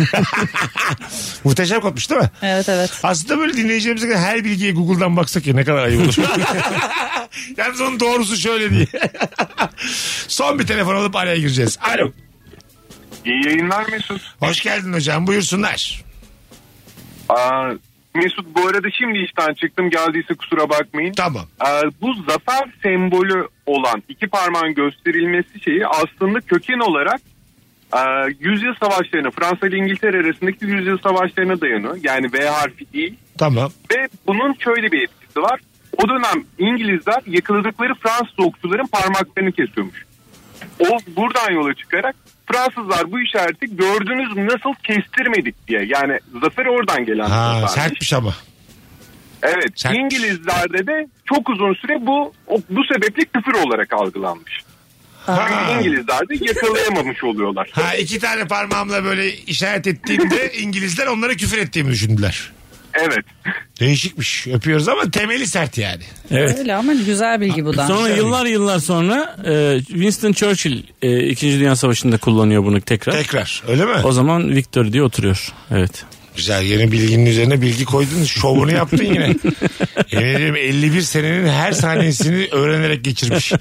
Muhteşem kopmuş değil mi?
Evet evet.
Aslında böyle dinleyicilerimize göre her bilgiye Google'dan baksak ya ne kadar ayıp olur. Yalnız onun doğrusu şöyle diye. Son bir telefon alıp araya gireceğiz. Alo.
İyi yayınlar Mesut.
Hoş geldin hocam buyursunlar.
Aa, Mesut bu arada şimdi işten çıktım geldiyse kusura bakmayın.
Tamam.
Ee, bu zafer sembolü olan iki parmağın gösterilmesi şeyi aslında köken olarak e, yüzyıl savaşlarına Fransa ile İngiltere arasındaki yüzyıl savaşlarına dayanıyor. Yani V harfi değil.
Tamam.
Ve bunun şöyle bir etkisi var. O dönem İngilizler yakaladıkları Fransız okçuların parmaklarını kesiyormuş. O buradan yola çıkarak Fransızlar bu işareti gördünüz mü nasıl kestirmedik diye. Yani zafer oradan gelen. bir
Ha,
zafermiş.
sertmiş ama.
Evet
Sen-
İngilizlerde de çok uzun süre bu o- bu sebeple küfür olarak algılanmış.
Ha.
İngilizler de yakalayamamış oluyorlar.
ha, iki tane parmağımla böyle işaret ettiğimde İngilizler onlara küfür ettiğimi düşündüler.
Evet.
Değişikmiş. Öpüyoruz ama temeli sert yani.
Evet.
Öyle ama güzel bilgi bu da.
Sonra yıllar yıllar sonra e, Winston Churchill e, 2. Dünya Savaşı'nda kullanıyor bunu tekrar.
Tekrar öyle mi?
O zaman Victor diye oturuyor. Evet.
Güzel yeni bilginin üzerine bilgi koydun şovunu yaptın yine. Yemin ediyorum 51 senenin her saniyesini öğrenerek geçirmiş.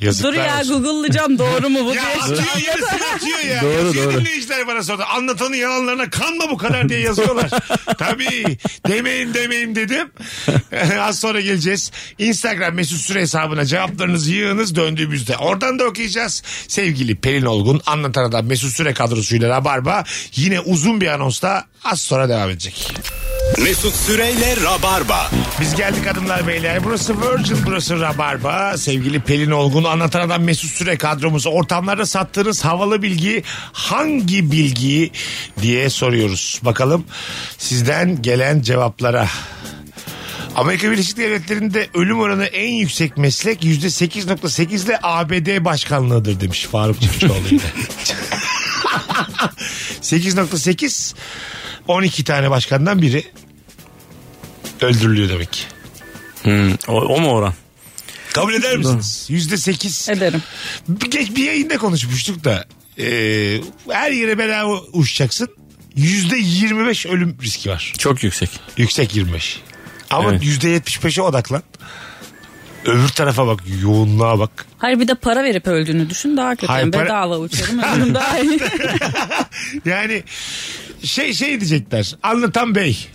Yazıklar
Dur ya
olsun.
Google'layacağım doğru mu bu
Ya
diye.
atıyor yarısını atıyor ya.
Doğru,
yazıyor
doğru.
dinleyiciler bana sonra. Anlatanın yalanlarına kanma bu kadar diye yazıyorlar. Tabii. Demeyin demeyin dedim. Az sonra geleceğiz. Instagram mesut süre hesabına cevaplarınızı yığınız döndüğümüzde. Oradan da okuyacağız. Sevgili Pelin Olgun anlatan adam mesut süre kadrosuyla Rabarba yine uzun bir anonsla az sonra devam edecek.
Mesut Süreyle Rabarba.
Biz geldik hanımlar beyler. Burası Virgin, burası Rabarba. Sevgili Pelin Olgun, anlatan adam Mesut Süre kadromuz. Ortamlarda sattığınız havalı bilgi hangi bilgi diye soruyoruz. Bakalım sizden gelen cevaplara. Amerika Birleşik Devletleri'nde ölüm oranı en yüksek meslek %8.8 ile ABD başkanlığıdır demiş Faruk Çiftçioğlu yine. 8.8 12 tane başkandan biri öldürülüyor demek ki.
Hmm, o, o mu oran?
Kabul eder misiniz? Yüzde sekiz.
Ederim.
Bir, geç bir yayında konuşmuştuk da e, her yere bedava uçacaksın. Yüzde yirmi beş ölüm riski var.
Çok yüksek.
Yüksek yirmi beş. Ama
Evet.
yüzde yetmiş beşe odaklan. Öbür tarafa bak, yoğunluğa bak.
Hayır bir de para verip öldüğünü düşün daha kötü.
Hayır, para-
Bedava uçarım ölürüm daha iyi.
Yani şey şey diyecekler. Anlatan Bey.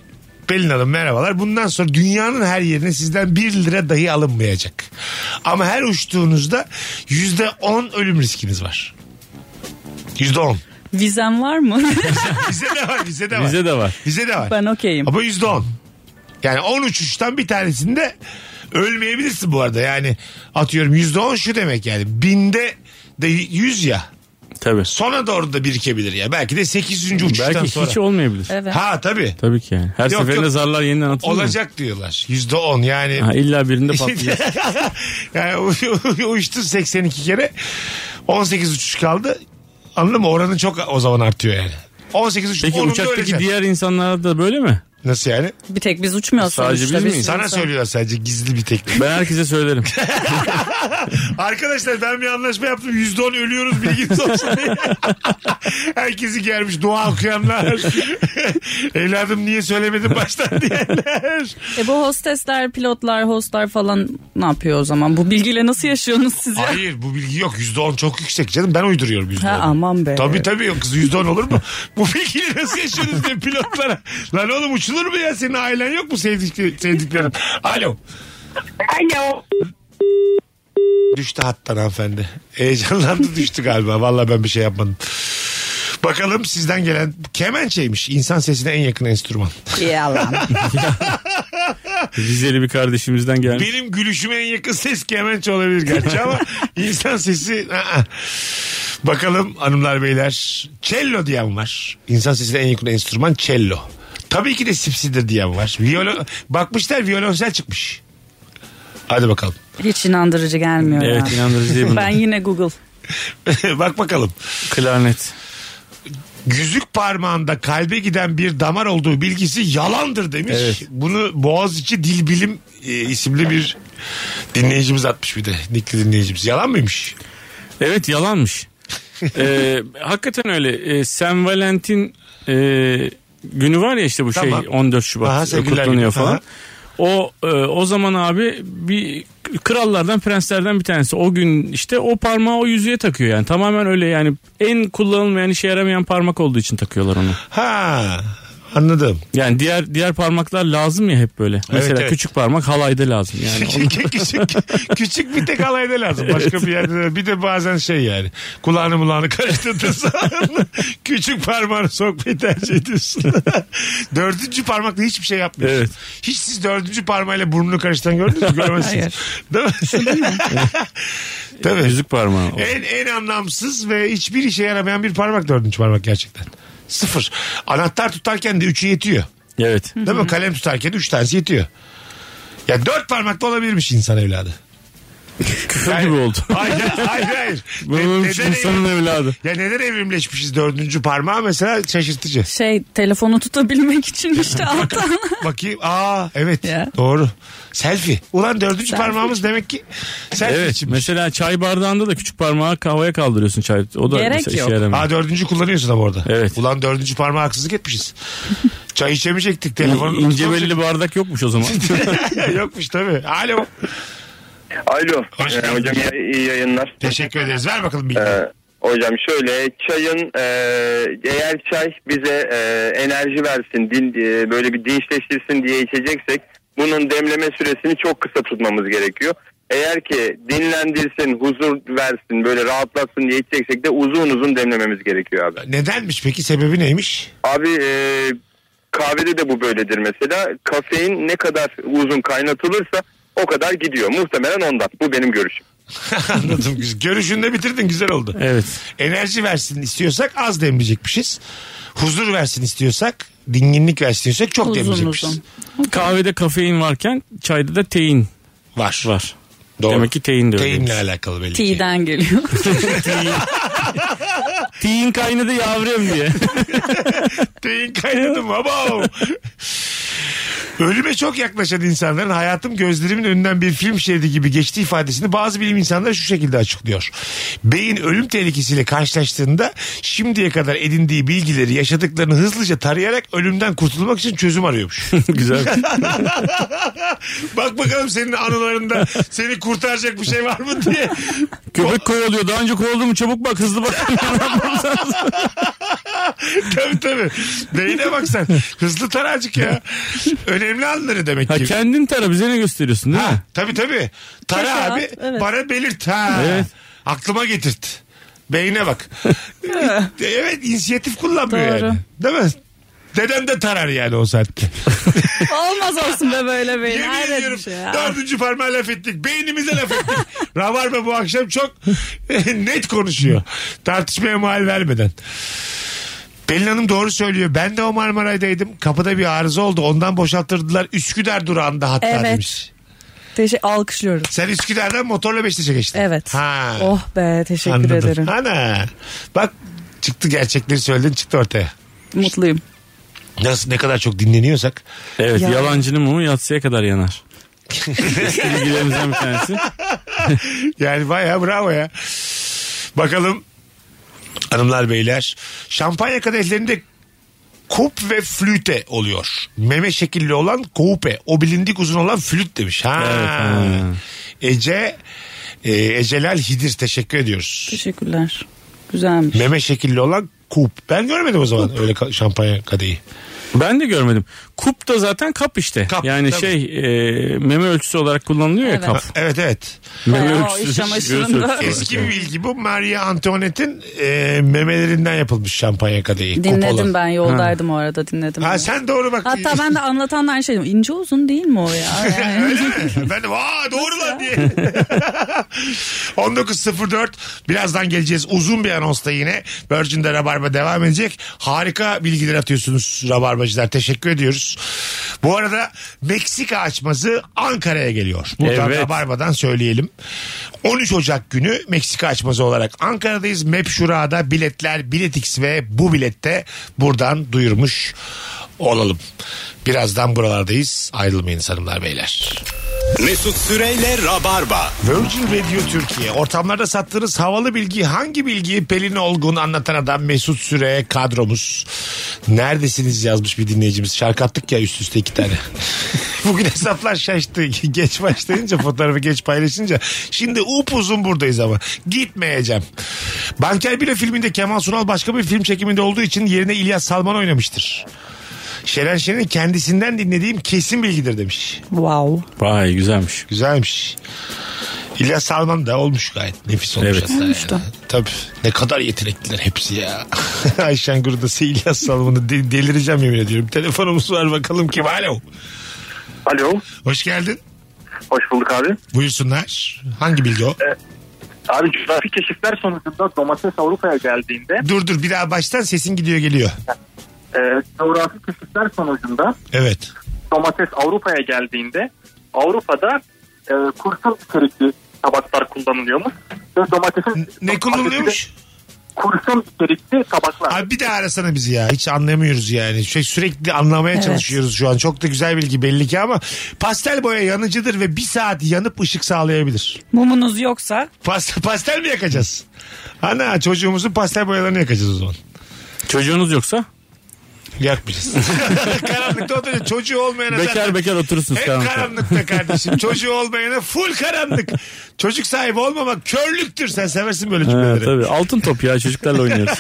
Pelin Hanım merhabalar. Bundan sonra dünyanın her yerine sizden 1 lira dahi alınmayacak. Ama her uçtuğunuzda %10 ölüm riskiniz var. %10.
Vizem var mı?
Bize de var, bize de var.
Bize de var.
Bize de var.
ben okeyim.
Ama yüzde on. Yani 10 uçuştan bir tanesinde ölmeyebilirsin bu arada. Yani atıyorum yüzde on şu demek yani. Binde de 100 ya.
Tabii.
Sona doğru da birikebilir ya. Belki de 8. uçuştan
Belki
sonra.
hiç olmayabilir.
Evet.
Ha tabii.
Tabii ki yani. Her
Yok,
seferinde
yok.
zarlar yeniden atılıyor.
Olacak diyorlar. Yüzde on yani.
Ha, illa birinde patlayacak.
yani u- uçtun 82 kere 18 uçuş kaldı. Anladın mı? Oranın çok o zaman artıyor yani. 18 uçuş
Peki
onunda
uçaktaki
öleceksin.
diğer insanlara da böyle mi?
Nasıl yani?
Bir tek biz uçmuyoruz.
Sadece
sonuçta.
biz miyiz?
Sana söylüyorlar sadece gizli bir teknik.
Ben herkese söylerim.
Arkadaşlar ben bir anlaşma yaptım. Yüzde on ölüyoruz bilginiz olsun diye. Herkesi gelmiş dua okuyanlar. Evladım niye söylemedin baştan diyenler.
E bu hostesler, pilotlar, hostlar falan ne yapıyor o zaman? Bu bilgiyle nasıl yaşıyorsunuz siz ya?
Hayır bu bilgi yok. Yüzde on çok yüksek canım. Ben uyduruyorum yüzde
Ha, aman be.
Tabii tabii yok kız yüzde on olur mu? bu bilgiyi nasıl yaşıyorsunuz diye pilotlara. Lan oğlum uçulur mu ya? Senin ailen yok mu sevdikleri, sevdiklerin? Alo.
Alo.
Düştü hattan hanımefendi. Heyecanlandı düştü galiba. Vallahi ben bir şey yapmadım. Bakalım sizden gelen kemençeymiş. İnsan sesine en yakın enstrüman.
Yalan.
Rizeli bir kardeşimizden gelmiş.
Benim gülüşüme en yakın ses kemençe olabilir gerçi ama insan sesi... aa. Bakalım hanımlar beyler. Cello diyen var. İnsan sesine en yakın enstrüman cello. Tabii ki de sipsidir diyen var. Viyolo... Bakmışlar violonsel çıkmış. Hadi bakalım.
Hiç inandırıcı gelmiyor.
Evet
ya.
inandırıcı değil bunlar.
Ben yine Google.
Bak bakalım.
Klarnet.
Yüzük parmağında kalbe giden bir damar olduğu bilgisi yalandır demiş.
Evet.
Bunu Boğaziçi Dil Bilim e, isimli bir dinleyicimiz atmış bir de. Nikli dinleyicimiz. Yalan mıymış?
Evet yalanmış. Ee, hakikaten öyle. Ee, Sen Valentin e, günü var ya işte bu
Tamam.
şey 14 Şubat
Aha, sevgililer
kutlanıyor
günü. Aha.
falan. O e, o zaman abi bir krallardan prenslerden bir tanesi o gün işte o parmağı o yüzüğe takıyor yani tamamen öyle yani en kullanılmayan işe yaramayan parmak olduğu için takıyorlar onu.
Ha anladım.
Yani diğer diğer parmaklar lazım ya hep böyle. Mesela
evet.
küçük parmak halayda lazım yani. Onu-
küçük, küçük, küçük bir tek alayda lazım. Başka bir yerde de- bir de bazen şey yani kulağını mulağını karıştırdığın zaman küçük parmağını sokmayı tercih ediyorsun. dördüncü parmakla hiçbir şey yapmıyorsun.
Evet.
Hiç siz dördüncü parmağıyla burnunu karıştıran gördünüz mü? Göremezsiniz. Değil mi? Tabii.
Yüzük parmağı. o.
En, en anlamsız ve hiçbir işe yaramayan bir parmak dördüncü parmak gerçekten. Sıfır. Anahtar tutarken de üçü yetiyor.
Evet.
Değil mi? Kalem tutarken üç tanesi yetiyor. Ya dört parmakta olabilirmiş insan evladı.
Küfür
Yani-
gibi oldu.
Hayır hayır. hayır.
Bu olmuş insanın
evrim-
evladı.
Ya neden evrimleşmişiz dördüncü parmağı mesela şaşırtıcı.
Şey telefonu tutabilmek için işte alttan.
Bakayım aa evet
Ya.
doğru. Selfie. Ulan dördüncü
Selfie.
parmağımız demek ki selfie
Evet
için.
mesela çay bardağında da küçük parmağı havaya kaldırıyorsun çay. O da
Gerek
mesela işe
yok.
yaramıyor.
Aa dördüncü kullanıyorsun ama orada.
Evet.
Ulan dördüncü parmağa haksızlık etmişiz. Çay içemeyecektik. Telefonu
İn- İnce belli şey bardak yokmuş o zaman.
Yokmuş tabii. Alo.
Alo.
Hoş
Ee,
geldin.
hocam iyi- iyi yayınlar.
Teşekkür ederiz. Ver bakalım bilgi.
Ee, hocam şöyle çayın e, eğer çay bize e, enerji versin din, e, böyle bir dinçleştirsin diye içeceksek bunun demleme süresini çok kısa tutmamız gerekiyor. Eğer ki dinlendirsin, huzur versin, böyle rahatlatsın diye içeceksek de uzun uzun demlememiz gerekiyor abi.
Nedenmiş peki? Sebebi neymiş?
Abi e, kahvede de bu böyledir mesela. Kafein ne kadar uzun kaynatılırsa o kadar gidiyor. Muhtemelen ondan. Bu benim görüşüm.
Anladım. Görüşünde bitirdin. Güzel oldu.
Evet.
Enerji versin istiyorsak az demleyecekmişiz. Huzur versin istiyorsak, dinginlik versin istiyorsak çok
Uzun
demleyecekmişiz.
uzun.
Kahvede kafein varken çayda da tein
Var.
var.
Doğru.
Demek ki tein de öyle.
Teyimle alakalı belli ki.
T'den geliyor.
Tein kaynadı yavrem diye.
Teyin kaynadım babam. Ölüme çok yaklaşan insanların hayatım gözlerimin önünden bir film şeridi gibi geçti ifadesini bazı bilim insanları şu şekilde açıklıyor. Beyin ölüm tehlikesiyle karşılaştığında şimdiye kadar edindiği bilgileri yaşadıklarını hızlıca tarayarak ölümden kurtulmak için çözüm arıyormuş.
Güzel.
Bak bakalım senin anılarında seni kurtaracak bir şey var mı diye.
Köpek kovalıyor. Daha önce kovaldı mı çabuk bak hızlı bak.
tabii tabii. Beyine bak sen. Hızlı taracık ya. Önemli anları demek
ha,
ki.
kendin tara bize ne gösteriyorsun değil
Ha,
mi?
tabii tabii. Tara
Taşı
abi
at, evet.
bana belirt. Ha.
Evet.
Aklıma getirt. Beyine bak. evet inisiyatif kullanmıyor
Doğru.
yani. Değil mi? Dedem de tarar yani o saatte.
Olmaz olsun be böyle beyin.
Yemin
Hayret
ediyorum
bir şey ya.
dördüncü parmağa laf ettik. Beynimize laf ettik. Rabarba bu akşam çok net konuşuyor. Tartışmaya mahal vermeden. Pelin Hanım doğru söylüyor. Ben de o Marmaray'daydım. Kapıda bir arıza oldu. Ondan boşalttırdılar. Üsküdar durağında hatta
Evet.
demiş.
Teşe- alkışlıyorum.
Sen Üsküdar'dan motorla Beşiktaş'a geçtin.
Evet.
Ha.
Oh be teşekkür
Anladım.
ederim.
Ana. Bak çıktı gerçekleri söyledin çıktı ortaya.
Mutluyum.
Nasıl ne kadar çok dinleniyorsak.
Evet
Ya.
yalancının mumu yatsıya kadar yanar. Bilgilerimizden bir tanesi.
Yani bayağı bravo ya. Bakalım hanımlar beyler. Şampanya kadehlerinde kup ve flüte oluyor. Meme şekilli olan kupe. O bilindik uzun olan flüt demiş. Ha.
Evet, ha.
Ece e, Ecelal Hidir teşekkür ediyoruz.
Teşekkürler. Güzelmiş.
Meme şekilli olan kup. Ben görmedim o zaman öyle ka- şampanya kadehi.
Ben de görmedim. Kup da zaten kap işte. yani
tabii.
şey e, meme ölçüsü olarak kullanılıyor ya
Evet.
kap.
Evet evet.
Meme ölçüsü. göğüs ölçüsü.
Eski bir bilgi bu. Maria Antoinette'in e, memelerinden yapılmış şampanya kadehi.
Dinledim
kupalı.
ben yoldaydım o arada dinledim.
Ha, sen doğru bak.
Hatta ben de anlatan da aynı şey dedim. İnce uzun değil mi o ya? Yani.
Öyle mi? Ben de aa doğru lan diye. 19.04 birazdan geleceğiz. Uzun bir anonsla yine Virgin'de Rabarba devam edecek. Harika bilgiler atıyorsunuz Rabarbacılar. Teşekkür ediyoruz. Bu arada Meksika açması Ankara'ya geliyor. Buradan
Evet.
Rabarba'dan söyleyelim. 13 Ocak günü Meksika açması olarak Ankara'dayız. Mep Şura'da biletler Biletix ve bu bilette buradan duyurmuş olalım. Birazdan buralardayız. Ayrılmayın hanımlar beyler.
Mesut Süreyle Rabarba.
Virgin Radio Türkiye. Ortamlarda sattığınız havalı bilgi hangi bilgiyi Pelin Olgun anlatan adam Mesut Süre kadromuz. Neredesiniz yazmış bir dinleyicimiz. Şarkı attık ya üst üste iki tane. Bugün hesaplar şaştı. Geç başlayınca fotoğrafı geç paylaşınca. Şimdi upuzun buradayız ama. Gitmeyeceğim. Banker Bile filminde Kemal Sunal başka bir film çekiminde olduğu için yerine İlyas Salman oynamıştır. Şeren Şen'in kendisinden dinlediğim kesin bilgidir demiş.
Wow.
Vay güzelmiş.
Güzelmiş. İlyas Salman da olmuş gayet. Nefis olmuş
Evet.
hatta yani. Tabii. Ne kadar yetenekliler hepsi ya. Ayşen Gurdası İlyas Salman'ı de- delireceğim yemin ediyorum. Telefonumuz var bakalım kim. Alo.
Alo.
Hoş geldin.
Hoş bulduk abi.
Buyursunlar. Hangi bilgi o?
Abi coğrafi keşifler sonucunda domates Avrupa'ya geldiğinde
Dur dur bir daha baştan sesin gidiyor geliyor.
e, coğrafi keşifler sonucunda
Evet.
domates Avrupa'ya geldiğinde Avrupa'da e, kurşun içerikli tabaklar kullanılıyormuş. Ve domatesin
Ne kullanılıyormuş?
Kurşun içerikli tabaklar.
Abi bir daha arasana bizi ya. Hiç anlamıyoruz yani. Şey, sürekli anlamaya
Evet.
çalışıyoruz şu an. Çok da güzel bilgi belli ki ama pastel boya yanıcıdır ve bir saat yanıp ışık sağlayabilir.
Mumunuz yoksa?
Pas- pastel mi yakacağız? Ana çocuğumuzun pastel boyalarını yakacağız o zaman.
Çocuğunuz yoksa?
Yakmayacağız. karanlıkta oturuyor. Çocuğu olmayana
Bekar
zaten-
bekar oturursunuz
Hep
karanlıkta.
karanlık be kardeşim. Çocuğu olmayana full karanlık. Çocuk sahibi olmamak körlüktür. Sen seversin böyle
Ha,
cümleleri.
tabii altın top ya çocuklarla oynuyoruz.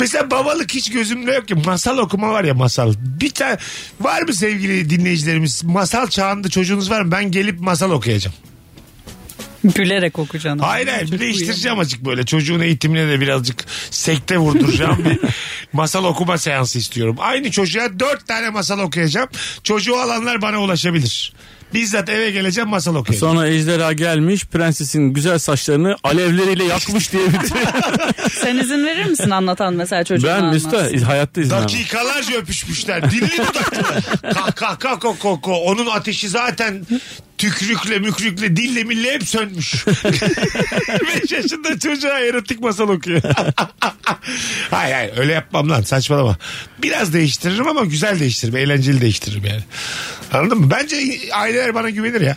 Mesela babalık hiç gözümde yok ki. Masal okuma var ya masal. Bir tane var mı sevgili dinleyicilerimiz? Masal çağında çocuğunuz var mı? Ben gelip masal okuyacağım.
Gülerek okuyacaksın.
Hayır hayır bir değiştireceğim azıcık böyle. Çocuğun eğitimine de birazcık sekte vurduracağım bir masal okuma seansı istiyorum. Aynı çocuğa dört tane masal okuyacağım. Çocuğu alanlar bana ulaşabilir. Bizzat eve geleceğim masal okuyacağım.
Sonra ejderha gelmiş prensesin güzel saçlarını alevleriyle yakmış diye bitiriyor.
Sen izin verir misin anlatan mesela çocuğun
ben Mesut'a hayatta izin vermem.
Dakikalarca öpüşmüşler. Dilli dudaklılar. Kah kah kah ko ko ko. Onun ateşi zaten tükrükle mükrükle dille mille hep sönmüş. 5 yaşında çocuğa erotik masal okuyor. hayır hayır öyle yapmam lan saçmalama. Biraz değiştiririm ama güzel değiştiririm. Eğlenceli değiştiririm yani. Anladın mı? Bence aileler bana güvenir ya.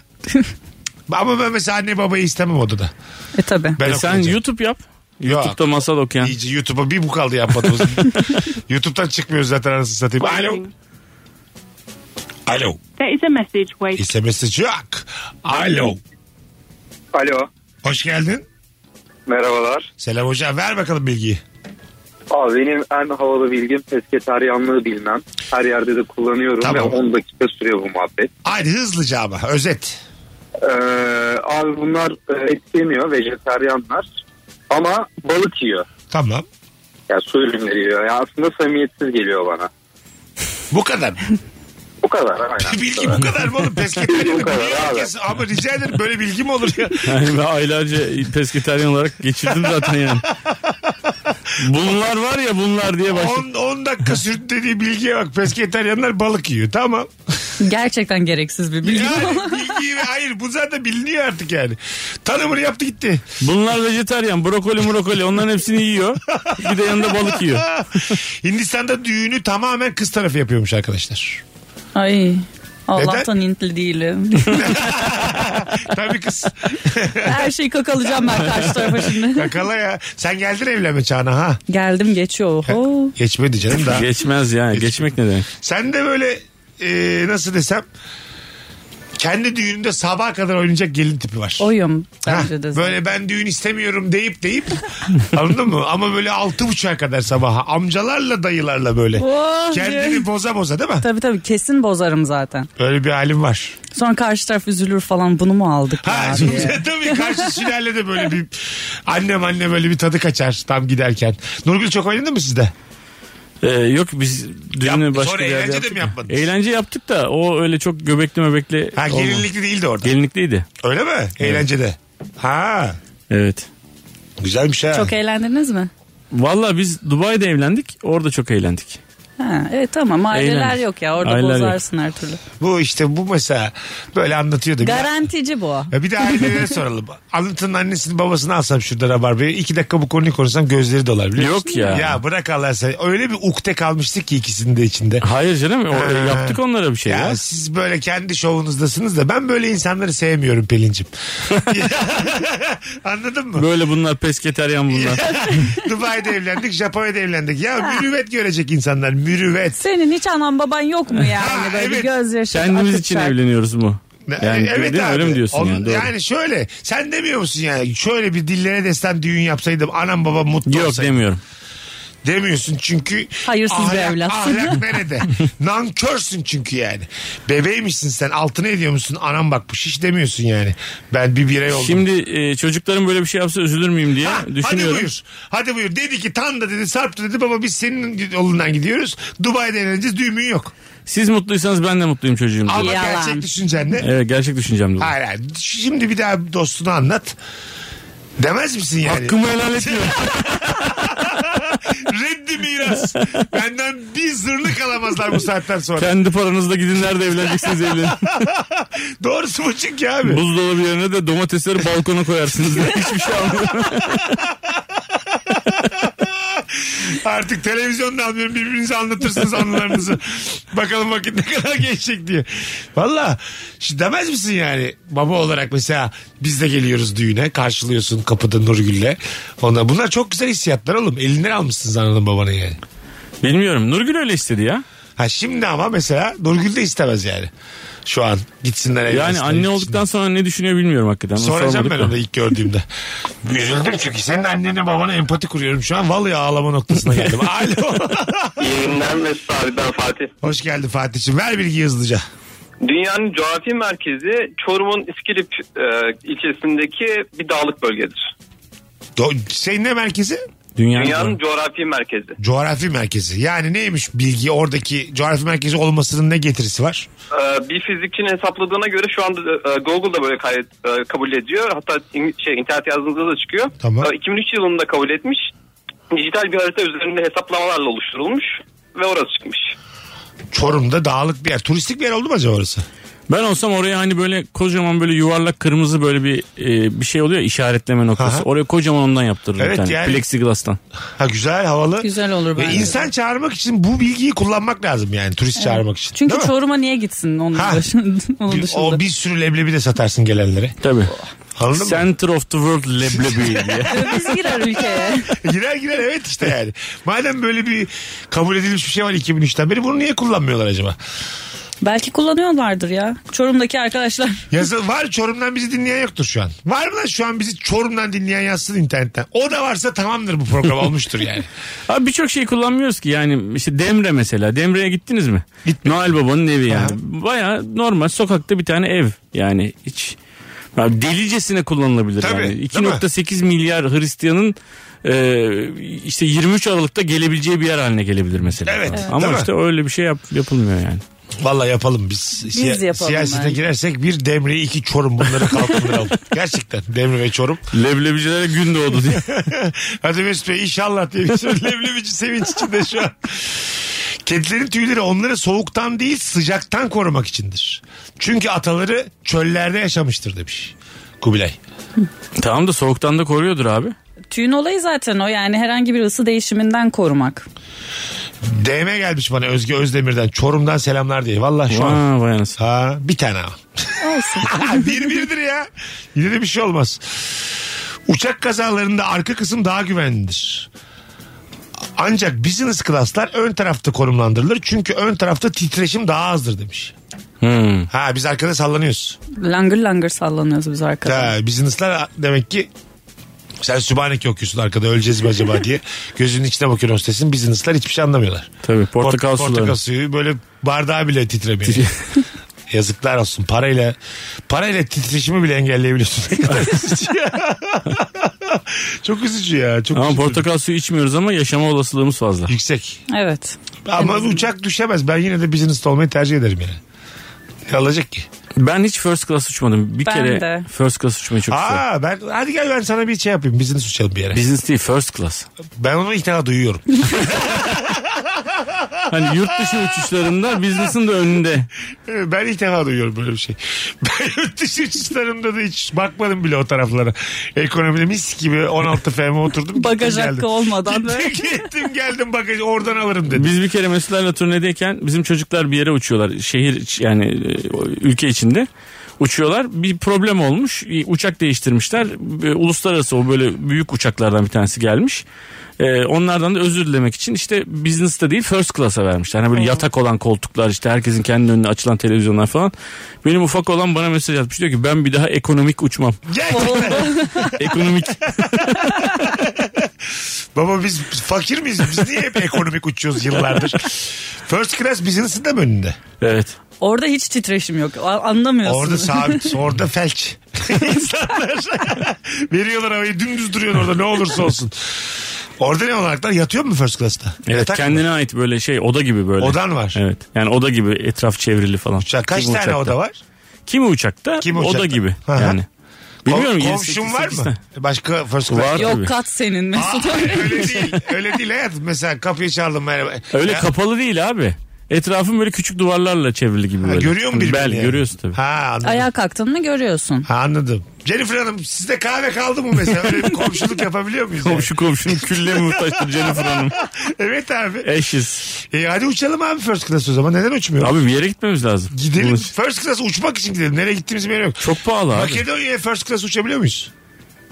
ama ben mesela anne babayı istemem odada.
E tabi.
Ben
E sen
okuyacağım.
YouTube yap.
Yok.
YouTube'da masal okuyan.
İyice YouTube'a bir bu kaldı yapmadığımız. YouTube'dan çıkmıyoruz zaten anasını satayım. Alo. Alo.
There is a message waiting.
SMS yok. Alo.
Alo.
Hoş geldin.
Merhabalar.
Selam hocam. Ver bakalım bilgiyi.
Abi benim en havalı bilgim pesketaryanlığı bilmem. Her yerde de kullanıyorum
Tamam.
ve 10 dakika sürüyor bu muhabbet.
Haydi hızlıca ama özet.
Ee, abi bunlar e, et yemiyor, vejetaryanlar. Ama balık yiyor.
Tamam.
Ya su ürünleri yiyor. Ya aslında samimiyetsiz geliyor bana.
Bu kadar.
bu kadar aynen.
Bilgi bu kadar mı oğlum? Pesketaryanlığı bilgi herkes- Ama rica ederim böyle bilgi mi olur ya?
Yani ben aylarca pesketaryen olarak geçirdim zaten yani. Bunlar var ya bunlar diye başladım.
10 dakika sürdü dediği bilgiye bak. Pesketaryanlar balık yiyor. Tamam.
Gerçekten gereksiz bir bilgi.
Yani bilgiyi ve hayır bu zaten biliniyor artık yani. Tanımını yaptı gitti.
Bunlar vejetaryen brokoli brokoli onların hepsini yiyor. Bir de yanında balık yiyor.
Hindistan'da düğünü tamamen kız tarafı yapıyormuş arkadaşlar.
Ay. Allah'tan intli değilim.
Tabii kız.
Her şeyi kakalayacağım ben karşı tarafa şimdi.
Kakala ya. Sen geldin evlenme çağına ha.
Geldim geçiyor. Oho.
Geçmedi canım daha.
Geçmez yani. Geçmek ne demek?
Sen de böyle e, nasıl desem Kendi düğününde sabaha kadar oynayacak gelin tipi var.
Oyum.
Hah,
Bence de.
böyle ben düğün istemiyorum deyip deyip anladın mı? Ama böyle altı buçuğa kadar sabaha amcalarla dayılarla böyle.
Oh,
Kendini
diye.
boza boza değil mi?
Tabii tabii kesin bozarım zaten.
Böyle bir halim var.
Sonra karşı taraf üzülür falan bunu mu aldık ya diye.
Tabii karşı sülalede böyle bir annem anne böyle bir tadı kaçar tam giderken. Nurgül çok oynadı mı sizde?
Ee, yok biz düğünü
Yap-
başka
sonra
bir yerde
eğlence de
yaptık
mi
ya.
yapmadınız?
Eğlence yaptık da o öyle çok göbekli möbekli.
Ha
olmadı.
gelinlikli değildi orada.
Gelinlikliydi.
Öyle mi? Eğlencede. Ha.
Evet.
Güzelmiş ha.
Çok e- eğlendiniz mi?
Valla biz Dubai'de evlendik. Orada çok eğlendik.
Ha, evet tamam aileler
Eğlendik.
yok ya orada
Aileler yok.
bozarsın her türlü.
Bu işte bu mesela böyle anlatıyordu. Bir-
Garantici bu.
Ya bir de ailelere soralım. Anlatının annesini babasını alsam şurada rabarbayı. iki dakika bu konuyu konuşsam gözleri dolar biliyor musun?
Yok ya.
Ya bırak Allah seni. Öyle bir ukde kalmıştık ki ikisinin de içinde.
Hayır canım orada
Ha.
yaptık onlara bir şey
Ya,
ya.
siz böyle kendi şovunuzdasınız da ben böyle insanları sevmiyorum Pelin'cim. Anladın mı?
Böyle bunlar pesketeryan bunlar.
Dubai'de evlendik, Japonya'da evlendik. Ya mürüvvet görecek insanlar, mürüvvet.
Senin hiç anan baban yok mu yani böyle
evet.
bir gözyaşı
Kendimiz
akıtacak.
için evleniyoruz mu? Yani evet
abi.
öyle mi diyorsun
Onun-
yani? Doğru.
yani şöyle sen demiyor musun yani şöyle bir dillere destan düğün yapsaydım anam babam mutlu
Yok
olsaydı.
demiyorum.
Demiyorsun çünkü
Hayırsız bir evlat.
Ahlak nerede? Nankörsün çünkü yani. Bebeğmişsin sen altına ediyor musun? Anam bakmış hiç demiyorsun yani. Ben bir birey oldum.
Şimdi e, çocuklarım böyle bir şey yapsa üzülür müyüm diye
Ha,
düşünüyorum.
Hadi buyur. Hadi buyur. Dedi ki Tan da dedi Sarp da dedi baba biz senin yolundan gidiyoruz. Dubai'de eğleneceğiz düğmün yok.
Siz mutluysanız ben de mutluyum çocuğum diye.
Ama
Yalan.
gerçek düşüncen ne?
Evet gerçek düşüncem de bu.
Hayır, hayır. Şimdi bir daha dostunu anlat. Demez misin yani?
Hakkımı helal etmiyorum.
Reddi miras. Benden bir zırnık alamazlar bu saatten sonra.
Kendi paranızla gidin nerede evleneceksiniz evlenin.
Doğrusu bu çünkü abi.
Buzdolabı yerine de domatesleri balkona koyarsınız. diye. Hiçbir şey almıyorum.
Artık televizyonda almıyorum birbirinize anlatırsınız anılarınızı. Bakalım vakit ne kadar geçecek diye. Valla şu demez misin yani baba olarak mesela biz de geliyoruz düğüne karşılıyorsun kapıda Nurgül'le. Onlar, bunlar çok güzel hissiyatlar oğlum elinden almışsınız ananın babanı yani.
Bilmiyorum. Nurgül öyle istedi ya.
Ha şimdi ama mesela Nurgül de istemez yani. Şu an gitsinler
Yani
evlensinler,
anne
gitsinler.
olduktan sonra ne düşünüyor bilmiyorum hakikaten. Onu
Soracağım
sormadık
ben
da.
onu ilk gördüğümde. Üzüldüm çünkü senin annene babana empati kuruyorum şu an. Vallahi ağlama noktasına geldim. Alo.
Yayından Mesut abi ben Fatih.
Hoş geldin Fatih'ciğim. Ver bilgi hızlıca.
Dünyanın coğrafi merkezi Çorum'un İskilip e, ilçesindeki bir dağlık bölgedir.
Do- şey ne merkezi?
Dünyanın,
Dünyanın coğrafi merkezi.
Coğrafi merkezi. Yani neymiş bilgi oradaki coğrafi merkezi olmasının ne getirisi var?
E, bir fizikçinin hesapladığına göre şu anda e, Google da böyle kayıt, e, kabul ediyor. Hatta in- şey internet yazdığınızda da çıkıyor.
Tamam.
E, 2003 yılında kabul etmiş. Dijital bir harita üzerinde hesaplamalarla oluşturulmuş ve orası çıkmış.
Çorum'da dağlık bir yer. Turistik bir yer oldu mu acaba orası?
Ben olsam oraya hani böyle kocaman böyle yuvarlak kırmızı böyle bir e, bir şey oluyor ya, işaretleme noktası.
Aha.
Oraya kocaman ondan yaptırırım
Evet,
bir tane.
yani-
Plexiglass'tan.
Ha güzel havalı.
Güzel olur
Ve
bence.
insan çağırmak için bu bilgiyi kullanmak lazım yani turist çağırmak için.
Çünkü
Değil mi?
Çorum'a niye gitsin onun
Ha.
dışında? Onun
Bir-
dışında.
o bir sürü leblebi de satarsın gelenlere.
Tabii.
Anladın mı?
Center of the world leblebi diye.
Biz girer ülkeye.
Girer girer evet işte yani. Madem böyle bir kabul edilmiş bir şey var 2003'ten beri bunu niye kullanmıyorlar acaba?
Belki kullanıyorlardır ya. Çorum'daki arkadaşlar.
Yazı var Çorum'dan bizi dinleyen yoktur şu an. Var mı lan şu an bizi Çorum'dan dinleyen yazsın internetten. O da varsa tamamdır bu program olmuştur yani.
Abi birçok şey kullanmıyoruz ki yani işte Demre mesela. Demre'ye gittiniz mi? Noel Baba'nın evi yani. Baya normal sokakta bir tane ev yani hiç abi delicesine kullanılabilir
Tabii,
yani.
değil mi?
2.8 milyar Hristiyanın e, işte 23 Aralık'ta gelebileceği bir yer haline gelebilir mesela.
Evet, değil
Ama
mi?
işte öyle bir şey yap, yapılmıyor yani.
Valla yapalım biz. Siya-
Biz yapalım
Siyasete
bence.
girersek bir Demre iki Çorum bunları kalkındıralım. Gerçekten Demre ve Çorum.
Leblebicilere gün doğdu diye.
Hadi Mesut Bey inşallah diye bir sürü leblebici sevinç içinde şu an. Kedilerin tüyleri onları soğuktan değil sıcaktan korumak içindir. Çünkü ataları çöllerde yaşamıştır demiş Kubilay.
tamam da soğuktan da koruyordur abi.
Tüyün olayı zaten o yani herhangi bir ısı değişiminden korumak.
DM gelmiş bana Özge Özdemir'den Çorum'dan selamlar diye. Valla şu an.
Aa, vay anasını.
Ha, bir tane ama.
Olsun.
bir birdir ya. Yine de bir şey olmaz. Uçak kazalarında arka kısım daha güvenlidir. Ancak business class'lar ön tarafta konumlandırılır. Çünkü ön tarafta titreşim daha azdır demiş. Ha biz arkada sallanıyoruz.
Langır langır sallanıyoruz biz arkada.
Ha, bizi ıslar demek ki sen Sübhaneke okuyorsun arkada öleceğiz mi acaba diye. Gözünün içine bakıyorsun hostesin. Bizi ıslar hiçbir şey anlamıyorlar.
Tabii portakal
Port-
suları.
Portakal suyu böyle bardağı bile titremiyor. Yazıklar olsun. Parayla parayla titreşimi bile engelleyebiliyorsun. çok üzücü ya. Çok
Ama
üzücü.
portakal suyu içmiyoruz ama yaşama olasılığımız fazla.
Yüksek.
Evet.
Ama uçak düşemez. Ben yine de business olmayı tercih ederim yani. Ne alacak ki?
Ben hiç first class uçmadım. Bir
Ben
kere
de.
first class uçmayı çok istedim.
Aa ben hadi gel ben sana bir şey yapayım. Business uçalım bir yere.
Business değil first class.
Ben onu ilk defa duyuyorum.
Hani yurt dışı uçuşlarında business'ın da önünde.
Ben ilk defa duyuyorum böyle bir şey. Ben yurt dışı uçuşlarımda da hiç bakmadım bile o taraflara. Ekonomide mis gibi 16 FM oturdum.
Bagaj
gittim,
hakkı
geldim.
olmadan
Gittim,
böyle.
Gittim geldim bagajı oradan alırım dedim.
Biz bir kere Mesutlarla turnedeyken bizim çocuklar bir yere uçuyorlar. Şehir iç- yani e, ülke içinde uçuyorlar. Bir problem olmuş. Uçak değiştirmişler. E, Uluslararası o böyle büyük uçaklardan bir tanesi gelmiş. E, onlardan da özür dilemek için işte business'ta değil first class'a vermişler. Hani böyle yatak olan koltuklar işte herkesin kendi önüne açılan televizyonlar falan. Benim ufak olan bana mesaj atmış diyor ki ben bir daha ekonomik uçmam.
Gerçekten.
ekonomik.
Baba biz fakir miyiz? Biz niye hep ekonomik uçuyoruz yıllardır? First class business'ın da mı önünde?
Evet.
Orada hiç titreşim yok. A- Anlamıyorsun.
Orada sabit, orada felç. İnsanlar veriyorlar havayı dümdüz duruyor orada ne olursa olsun. Orada ne olaraklar yatıyor mu first class'ta?
Evet
Yatak mı?
kendine ait böyle şey oda gibi böyle.
Odan var.
Evet. Yani oda gibi etraf çevrili falan.
Kaç
Kimi
tane
uçakta?
oda var?
Kimi uçakta?
Kimi
Oda
uçakta?
gibi
Hı hı.
yani. Bilmiyorum.
Kom-
yedi,
komşun
sekiz,
var
sekiz
mı?
tane.
Başka first class.
Var
Yok
tabii.
kat senin Mesut.
öyle değil. Öyle değil hayatım. Mesela kapıyı çaldım merhaba.
Öyle
Ya-
kapalı değil abi. Etrafın böyle küçük duvarlarla çevrili gibi böyle.
görüyor mu birbirini
Bel
yani?
görüyorsun tabii.
Ha anladım.
Ayağa kalktın mı görüyorsun.
Ha, anladım. Jennifer Hanım sizde kahve kaldı mı mesela? Öyle bir komşuluk yapabiliyor muyuz? yani?
Komşu komşunun külle mi muhtaçtır Jennifer Hanım?
evet abi.
Eşiz.
E, hadi uçalım abi first class o zaman. Neden uçmuyor?
Abi bir yere gitmemiz lazım.
Gidelim
Bunun-
first class uçmak için gidelim. Nereye gittiğimiz belli yok.
Çok pahalı abi.
Makedonya'ya first class uçabiliyor muyuz?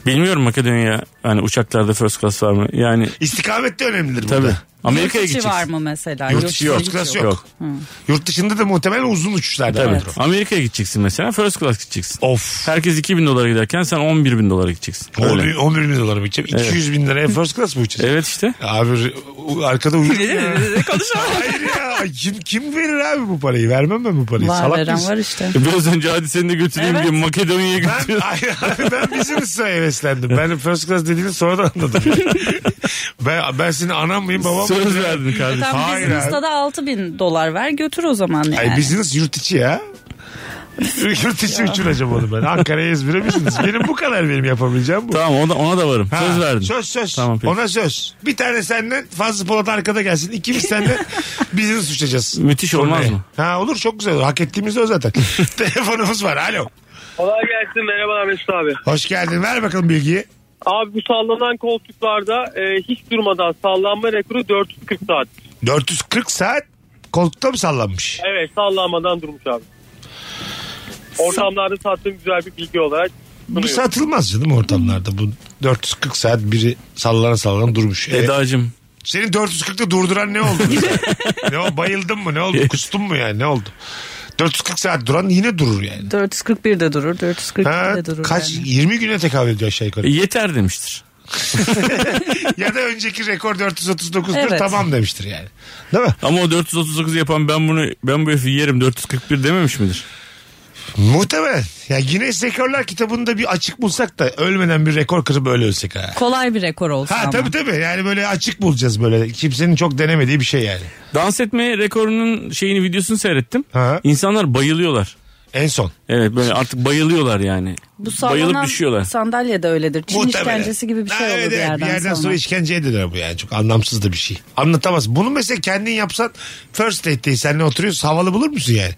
Bilmiyorum Makedonya hani uçaklarda first class var mı? Yani
İstikamet de önemlidir
tabii.
burada.
Amerika'ya
Yurt içi
gideceksin.
var mı mesela?
Yurt dışı yok. First class yok. Yurt dışında da muhtemelen uzun uçuşlardan
Tabii.
vardır o.
Amerika'ya gideceksin mesela first class gideceksin.
Of.
Herkes 2000 dolara giderken sen 11 bin dolara gideceksin. Öyle.
11, 11 bin dolara mı gideceğim?
Evet.
200 bin liraya first class mı uçacağız?
Evet işte.
Abi u- arkada uyuyor. ya.
Konuşamadım.
Hayır ya. Kim, kim verir abi bu parayı? Vermem ben bu parayı.
Var
Salak
veren
mısın?
var işte.
E, Biraz önce hadi seni de götüreyim
Evet.
diye Makedonya'ya
Ben,
götürüyorsun.
ay, abi ben business'a heveslendim. Ben first class dediğini sonradan anladım. ben, ben senin anam mıyım babam mıyım?
Söz verdin kardeşim.
Tam
Hayır
business'ta
abi.
da 6 bin dolar ver götür o zaman yani.
Ay business yurt içi ya. yurt içi uçuracağım onu ben. Ankara'ya İzmir'e business. Benim bu kadar benim yapabileceğim bu.
Tamam ona, ona da varım.
Ha,
söz verdim.
Söz söz.
Tamam, peki.
Ona söz. Bir tane senden Fazlı Polat arkada gelsin. İkimiz senden bizi suçlayacağız.
Müthiş olmaz
Turneye.
mı?
Ha olur çok güzel olur. Hak ettiğimiz de o zaten. Telefonumuz var. Alo.
Kolay gelsin merhabalar Mesut abi.
Hoş geldin. Ver bakalım bilgiyi.
Abi bu sallanan koltuklarda e, hiç durmadan sallanma rekoru 440 saat.
440 saat koltukta mı sallanmış?
Evet sallanmadan durmuş abi. Ortamlarda sattığım güzel bir bilgi olarak
Bu satılmaz canım ortamlarda. Bu 440 saat biri sallana sallana
E,
durmuş. Ee,
Eda'cığım.
senin 440'ta durduran ne oldu? ne o, bayıldın mı? Ne
E-
oldu? Kustun mu yani? Ne oldu? 440 saat duran yine durur yani.
441'de durur, 442'de durur.
kaç
yani.
20 güne tekabül ediyor aşağı yukarı.
E, yeter demiştir.
ya da önceki rekor 439'dur
Evet.
tamam demiştir yani. Değil mi?
Ama o 439 yapan ben bunu ben bu herifi yerim 441 dememiş midir?
Muhtemelen. Ya Guinness Rekorlar kitabında bir açık bulsak da ölmeden bir rekor kırıp öyle ölsek ha.
Kolay bir rekor olsun
Ha
ama.
tabii tabii yani böyle açık bulacağız böyle. Kimsenin çok denemediği bir şey yani.
Dans etme rekorunun şeyini videosunu seyrettim.
Ha.
İnsanlar bayılıyorlar.
En son.
Evet böyle artık bayılıyorlar yani.
Bu
Bayılıp
sallanan
düşüyorlar.
sandalye de öyledir. Çin
Muhtemelen.
işkencesi gibi bir şey
Ha,
olur
evet,
bir
evet.
yerden, sonra.
işkenceye döner bu yani. Çok anlamsız da bir şey. Anlatamaz. Bunu mesela kendin yapsan first date'deyiz. Seninle oturuyorsun. Havalı bulur musun yani?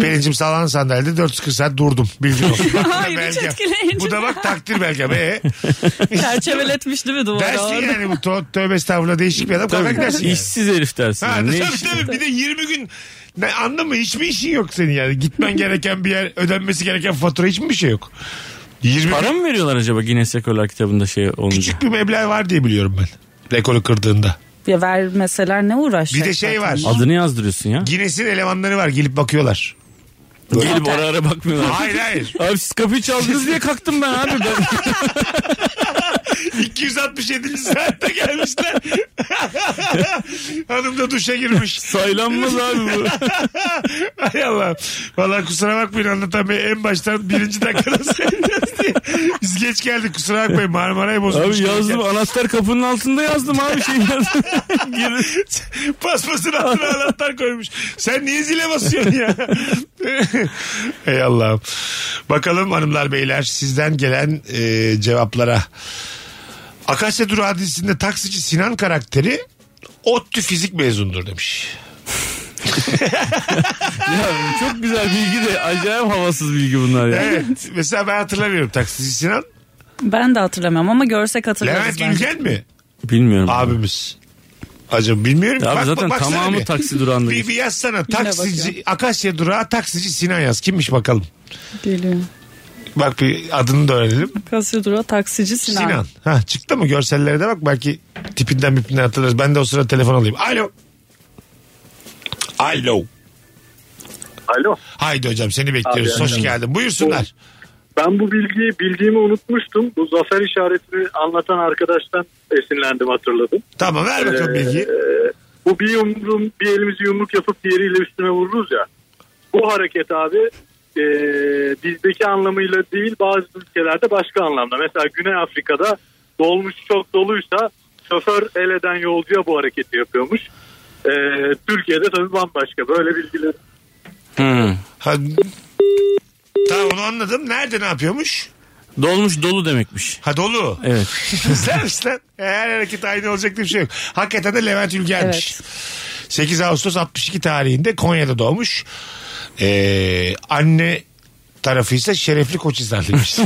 Pelincim salan sandalyede 440 saat durdum. Bilgin olsun. Bak, bu da
Hayır, hiç
belgem.
etkileyici.
Bu da bak takdir belgem. Ee,
Çerçeveletmiş değil mi duvara?
dersin
orada?
yani bu to- tövbe estağfurullah değişik bir adam. Kalkar
Tabii,
gidersin yani.
işsiz herif dersin.
Ha,
yani. Ne
tabii,
işi?
tabii. Bir de 20 gün ne, anladın mı? Hiçbir işin yok senin yani. Gitmen gereken bir yer, ödenmesi gereken fatura hiçbir şey yok. 20
Para mı veriyorlar acaba Guinness Rekorlar kitabında şey olunca?
küçük bir meblağ var diye biliyorum ben. Rekoru kırdığında.
Ya vermeseler ne uğraşacak?
Bir de şey
zaten?
var.
Adını yazdırıyorsun ya.
Guinness'in elemanları var gelip bakıyorlar.
Gelip ara ara bakmıyorlar.
Hayır, hayır.
Abi siz kapıyı çaldınız diye kalktım ben abi. Ben...
267. saatte gelmişler. Hanım da duşa girmiş.
Saylanmaz abi bu.
Hay Allah. Valla kusura bakmayın anlatan bey. En baştan birinci dakikada söyleyeceğiz diye. Biz geç geldik kusura bakmayın. Marmara'yı bozmuş.
Abi yazdım anahtar kapının altında yazdım abi şey yazdım.
Paspasın altına anahtar koymuş. Sen niye zile basıyorsun ya? Ey Allah'ım. Bakalım hanımlar beyler sizden gelen e, cevaplara. Akasya Durağı dizisinde taksici Sinan karakteri ODTÜ fizik mezundur demiş.
ya çok güzel bilgi de acayip havasız bilgi bunlar ya.
Evet. Mesela ben hatırlamıyorum taksici Sinan.
Ben de hatırlamıyorum ama görsek hatırlarız.
Levent
bence.
Ülgen mi?
Bilmiyorum.
Abimiz. Acaba bilmiyorum. ki.
Abi
Bak-
zaten
baksana
tamamı
bir.
taksi durağında
Bir, bir yazsana. Taksici, Akasya Durağı taksici Sinan yaz. Kimmiş bakalım.
Geliyor.
Bak bir adını da öğrenelim.
Kasya durağı taksici Sinan.
Sinan. Ha, çıktı mı görsellere de bak belki tipinden bipinden hatırlarız. Ben de o sırada telefon alayım. Alo. Alo.
Alo.
Haydi hocam seni bekliyoruz.
Abi,
Hoş
aynen.
geldin. Buyursunlar.
Ben bu bilgiyi bildiğimi unutmuştum. Bu zafer işaretini anlatan arkadaştan esinlendim hatırladım.
Tamam ver bakalım
Ee,
bilgiyi.
e, Bu bir yumruğum, bir elimizi yumruk yapıp diğeriyle üstüne vururuz ya. Bu hareket abi e, bizdeki anlamıyla değil bazı ülkelerde başka anlamda. Mesela Güney Afrika'da dolmuş çok doluysa şoför el eden yolcuya bu hareketi yapıyormuş. E, Türkiye'de tabii bambaşka. Böyle bilgiler
Ha, tamam onu anladım. Nerede ne yapıyormuş?
Dolmuş dolu demekmiş.
Ha dolu.
Evet.
Güzelmiş lan. Her hareket aynı olacak diye bir şey yok. Hakikaten de Levent Ülgen'miş. 8 Ağustos 62 tarihinde Konya'da doğmuş. Ee, anne tarafı ise Şerefli Koçhisarlıymış.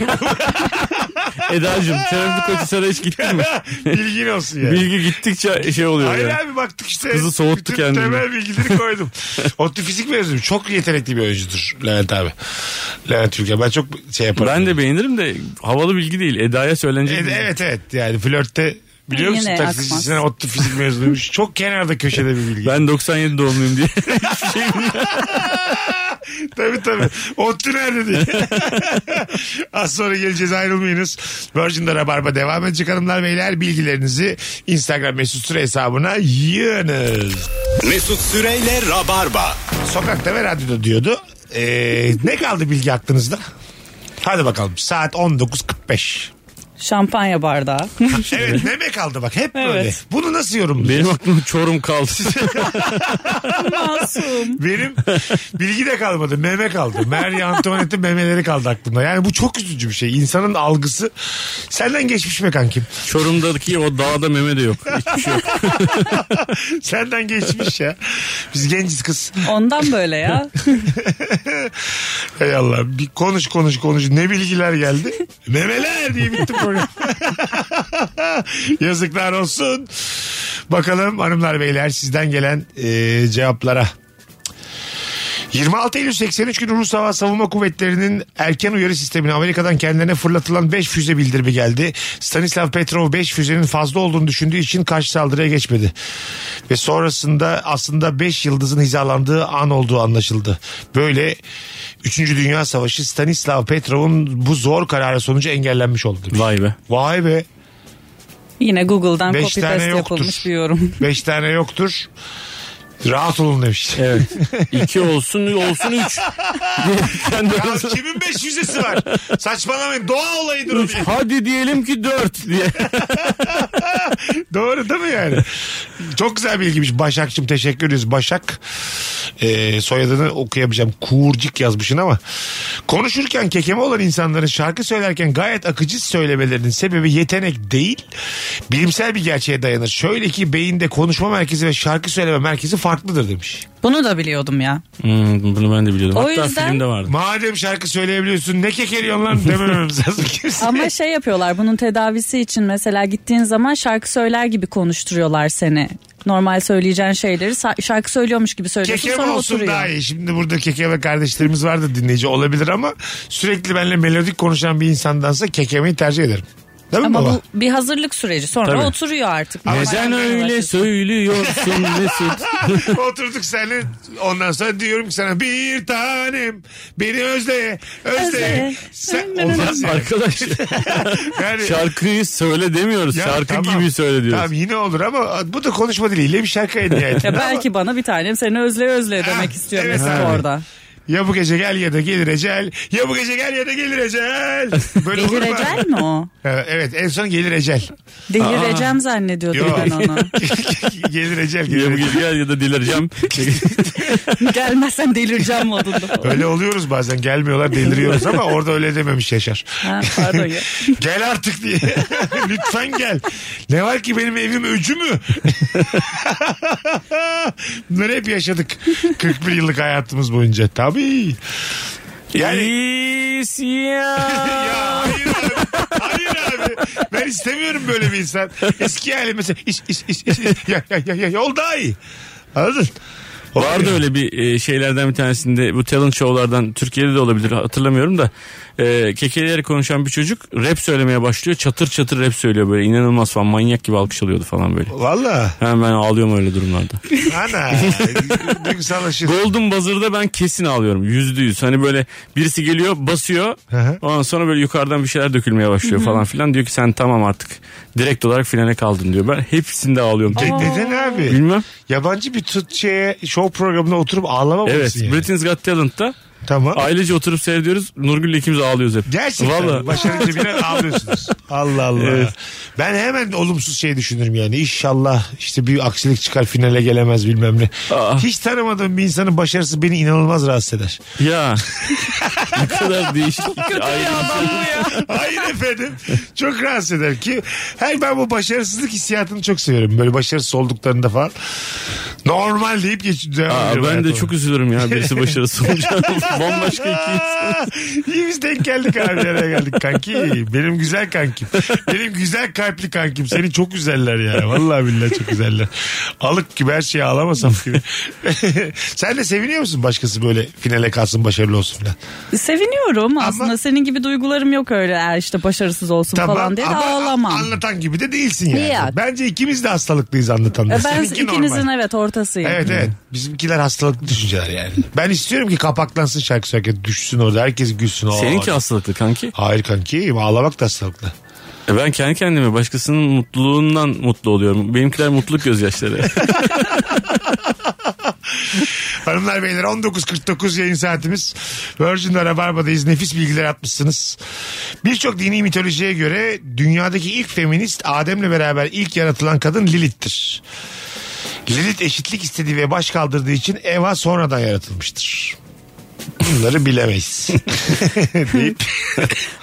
Eda'cığım Şerefli Koçhisar'a hiç gittin mi?
Bilgin olsun yani.
Bilgi gittikçe şey oluyor
Hayır
ya.
abi baktık işte.
Kızı soğuttu
bütün
kendini.
Temel bilgileri koydum. Otlu fizik mezunuyum. Çok yetenekli bir oyuncudur Levent abi. Levent Ülgen. Ben çok şey yaparım.
Ben de beğenirim de havalı bilgi değil. Eda'ya söylenecek.
E,
bilgi.
evet evet yani flörtte biliyor
Yine
musun
akmaz.
taksicisine otlu fizik mezunuymuş. Çok kenarda köşede bir bilgi.
Ben 97 doğumluyum diye. Hiçbir şey bilmiyorum.
tabii tabii. Otlu nerede diye. Az sonra geleceğiz ayrılmayınız. Virgin'de Rabarba devam edecek hanımlar beyler. Bilgilerinizi Instagram mesut süre hesabına yığınız.
Mesut Süreyle Rabarba.
Sokakta ve radyoda diyordu. Ee, ne kaldı bilgi aklınızda? Hadi bakalım saat 19.45.
Şampanya bardağı.
Evet meme kaldı bak hep böyle.
Evet.
Bunu nasıl yorumluyorsun?
Benim aklımda çorum kaldı.
Masum.
Benim bilgi de kalmadı. Meme kaldı. Mary Antoinette'in memeleri kaldı aklımda. Yani bu çok üzücü bir şey. İnsanın algısı senden geçmiş mi kankim?
Çorum'daki o dağda meme de yok. Hiçbir şey yok.
Senden geçmiş ya. Biz genciz kız.
Ondan böyle ya.
Hay Allah. Bir konuş konuş konuş. Ne bilgiler geldi? Memeler diye bitti program. Yazıklar olsun. Bakalım hanımlar beyler sizden gelen e, cevaplara. 26 Eylül 83 günü Rus Hava Savunma Kuvvetleri'nin erken uyarı sistemine Amerika'dan kendilerine fırlatılan 5 füze bildirimi geldi. Stanislav Petrov 5 füzenin fazla olduğunu düşündüğü için karşı saldırıya geçmedi. Ve sonrasında aslında 5 yıldızın hizalandığı an olduğu anlaşıldı. Böyle 3. Dünya Savaşı Stanislav Petrov'un bu zor kararı sonucu engellenmiş oldu. demiş.
Vay be.
Vay be.
Yine Google'dan
Beş
copy
tane
paste
yoktur.
yapılmış bir yorum.
5 tane yoktur. Rahat olun demiş.
Evet. İki olsun olsun üç. Kendi
Ya
arasında-
kimin 500'esi var? Saçmalamayın. Doğa olayıdır o
Üç.
diye.
Hadi diyelim ki dört diye.
Doğru değil mi yani? Çok güzel bilgiymiş. Başak'cığım teşekkür ederiz. Başak. Ee, soyadını okuyamayacağım. Kuğurcik yazmışsın ama. Konuşurken kekeme olan insanların şarkı söylerken gayet akıcı söylemelerinin sebebi yetenek değil. Bilimsel bir gerçeğe dayanır. Şöyle ki beyinde konuşma merkezi ve şarkı söyleme merkezi farklıdır demiş.
Bunu da biliyordum ya.
Hmm, bunu ben de biliyordum.
O
Hatta
yüzden-
filmde vardı.
Madem şarkı söyleyebiliyorsun ne kekeliyorsun lan demememiz lazım kimseye.
Ama şey yapıyorlar bunun tedavisi için mesela gittiğin zaman şarkı söyler gibi konuşturuyorlar seni. Normal söyleyeceğin şeyleri sa- şarkı söylüyormuş gibi söylüyorsun
Kekeme
sonra
olsun
oturuyor.
daha iyi. Şimdi burada kekeme kardeşlerimiz vardı dinleyici olabilir ama sürekli benimle melodik konuşan bir insandansa kekemeyi tercih ederim. Değil mi
Ama
baba?
bu bir hazırlık süreci. Sonra
Tabii.
oturuyor artık.
Oh. Neden öyle söylüyorsun Mesut?
Oturduk seninle ondan sonra diyorum ki sana bir tanem beni özle özle.
Özle.
Sen
Olmaz arkadaş. Şarkıyı söyle demiyoruz.
Ya
Şarkı
tamam.
gibi söyle diyoruz.
Tamam yine olur ama bu da konuşma diliyle bir şarkı en
Ya
nihayetinde.
belki bana bir tanem seni özle özle demek istiyor
evet
Mesut
abi.
orada.
Ya bu gece gel ya da gelir ecel. Ya bu gece gel ya da gelir ecel. Böyle
Gelir
olur mu?
ecel mi o?
Ha, Evet en son gelir ecel.
Delireceğim zannediyordum
Yok.
ben onu.
Aa, Gelir ecel
Ya
gelir
bu
ecel.
gece gel ya da delireceğim.
Gelmezsen delireceğim modunda.
Öyle oluyoruz bazen gelmiyorlar deliriyoruz ama orada öyle dememiş Yaşar.
Ha, pardon ya.
gel artık diye. Lütfen gel. Ne var ki benim evim öcü mü? Bunları hep yaşadık. 41 yıllık hayatımız boyunca. Tabii. Yani
İsyan.
hayır abi. Ben istemiyorum böyle bir insan. Eski hali mesela iş iş iş iş. iş. Ya, ya, ya, ya, yol daha iyi. Anladın?
Vardı öyle bir e, şeylerden bir tanesinde bu talent show'lardan Türkiye'de de olabilir hatırlamıyorum da e, kekeleri konuşan bir çocuk rap söylemeye başlıyor çatır çatır rap söylüyor böyle inanılmaz falan manyak gibi alkış alıyordu falan böyle.
Valla.
Hemen ben ağlıyorum öyle durumlarda.
Ana. Duygusallaşır.
Golden Buzzer'da ben kesin ağlıyorum yüzde yüz hani böyle birisi geliyor basıyor ondan sonra böyle yukarıdan bir şeyler dökülmeye başlıyor
Hı hı.
falan filan diyor ki sen tamam artık direkt olarak finale kaldın diyor ben hepsinde ağlıyorum.
Ne- neden abi?
Bilmem.
Yabancı bir tut şeye, show programına oturup ağlamamışsın
Evet
yani.
Britain's Got Talent'ta
Tamam.
ailece oturup seyrediyoruz Nurgül'le ikimiz ağlıyoruz hep.
Gerçekten
Vallahi.
başarınca biraz ağlıyorsunuz. Allah Allah.
Evet.
Ben hemen olumsuz şey düşünürüm yani. İnşallah işte bir aksilik çıkar finale gelemez bilmem ne. Hiç tanımadığım bir insanın başarısı beni inanılmaz rahatsız eder.
Ya. ne kadar değişik. Ayrı
Hayır efendim. Çok rahatsız eder ki. Her ben bu başarısızlık hissiyatını çok severim. Böyle başarısız olduklarında falan. Normal deyip geçiyorum.
Aa, ben de çok üzülürüm ya birisi başarısız olunca. Bambaşka iki
insan. İyi biz denk geldik abi nereye geldik kanki. Benim güzel kankim. Benim güzel kalpli kankim. Seni çok güzeller ya. Vallahi billahi çok güzeller. Alık gibi her şeyi ağlamasam gibi. Sen de seviniyor musun başkası böyle finale kalsın başarılı olsun falan?
Seviniyorum aslında senin gibi duygularım yok öyle "Aa, işte başarısız olsun falan diye de
ama
ağlamam.
Anlatan gibi de değilsin yani.
Yok.
Bence ikimiz de hastalıklıyız anlatanlar.
E, Ben
Seninki
ikinizin
normal.
evet ortasıyım.
Evet evet. Bizimkiler hastalıklı düşünceler yani. Ben istiyorum ki kapaklansın şarkı söylerken düşsün orada herkes gülsün. Aa,
Seninki hastalıklı kanki.
Hayır kanki ağlamak da hastalıklı.
E Ben kendi kendime başkasının mutluluğundan mutlu oluyorum. Benimkiler mutluluk gözyaşları.
Hanımlar beyler 19.49 yayın saatimiz. Virgin'de Rabarba'dayız. Nefis bilgiler atmışsınız. Birçok dini mitolojiye göre dünyadaki ilk feminist Adem'le beraber ilk yaratılan kadın Lilith'tir. Lilith eşitlik istediği ve baş kaldırdığı için Eva sonradan yaratılmıştır. Bunları bilemeyiz. deyip,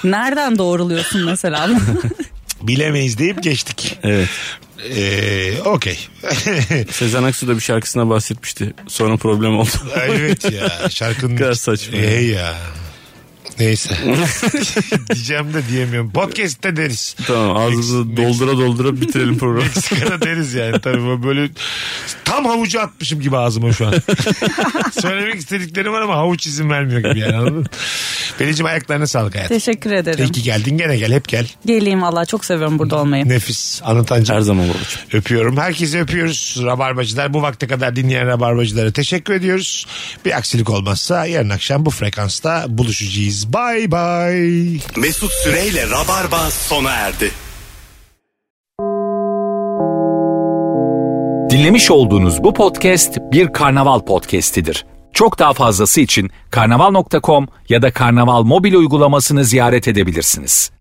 Nereden doğruluyorsun mesela?
bilemeyiz deyip geçtik.
evet.
Ee, Okey.
Sezen Aksu da bir şarkısına bahsetmişti. Sonra problem oldu.
evet ya şarkının...
kadar saçma.
Ey ya. Neyse. Diyeceğim de diyemiyorum. Podcast'te deriz.
Tamam ağzımızı doldura doldura bitirelim programı.
Meksika'da deriz yani tabii ben böyle tam havucu atmışım gibi ağzıma şu an. Söylemek istediklerim var ama havuç izin vermiyor gibi yani anladın mı? Pelin'cim ayaklarına sağlık hayatım.
Teşekkür ederim.
İyi ki geldin gene gel hep gel.
Geleyim valla çok seviyorum burada olmayı.
Nefis anlatancım.
Her zaman babacığım.
Öpüyorum. Herkesi öpüyoruz. Rabarbacılar bu vakte kadar dinleyen Rabarbacılara teşekkür ediyoruz. Bir aksilik olmazsa yarın akşam bu frekansta buluşacağız. Bay bay.
Mesut Süreyle Rabarba sona erdi.
Dinlemiş olduğunuz bu podcast bir karnaval podcastidir. Çok daha fazlası için karnaval.com ya da karnaval mobil uygulamasını ziyaret edebilirsiniz.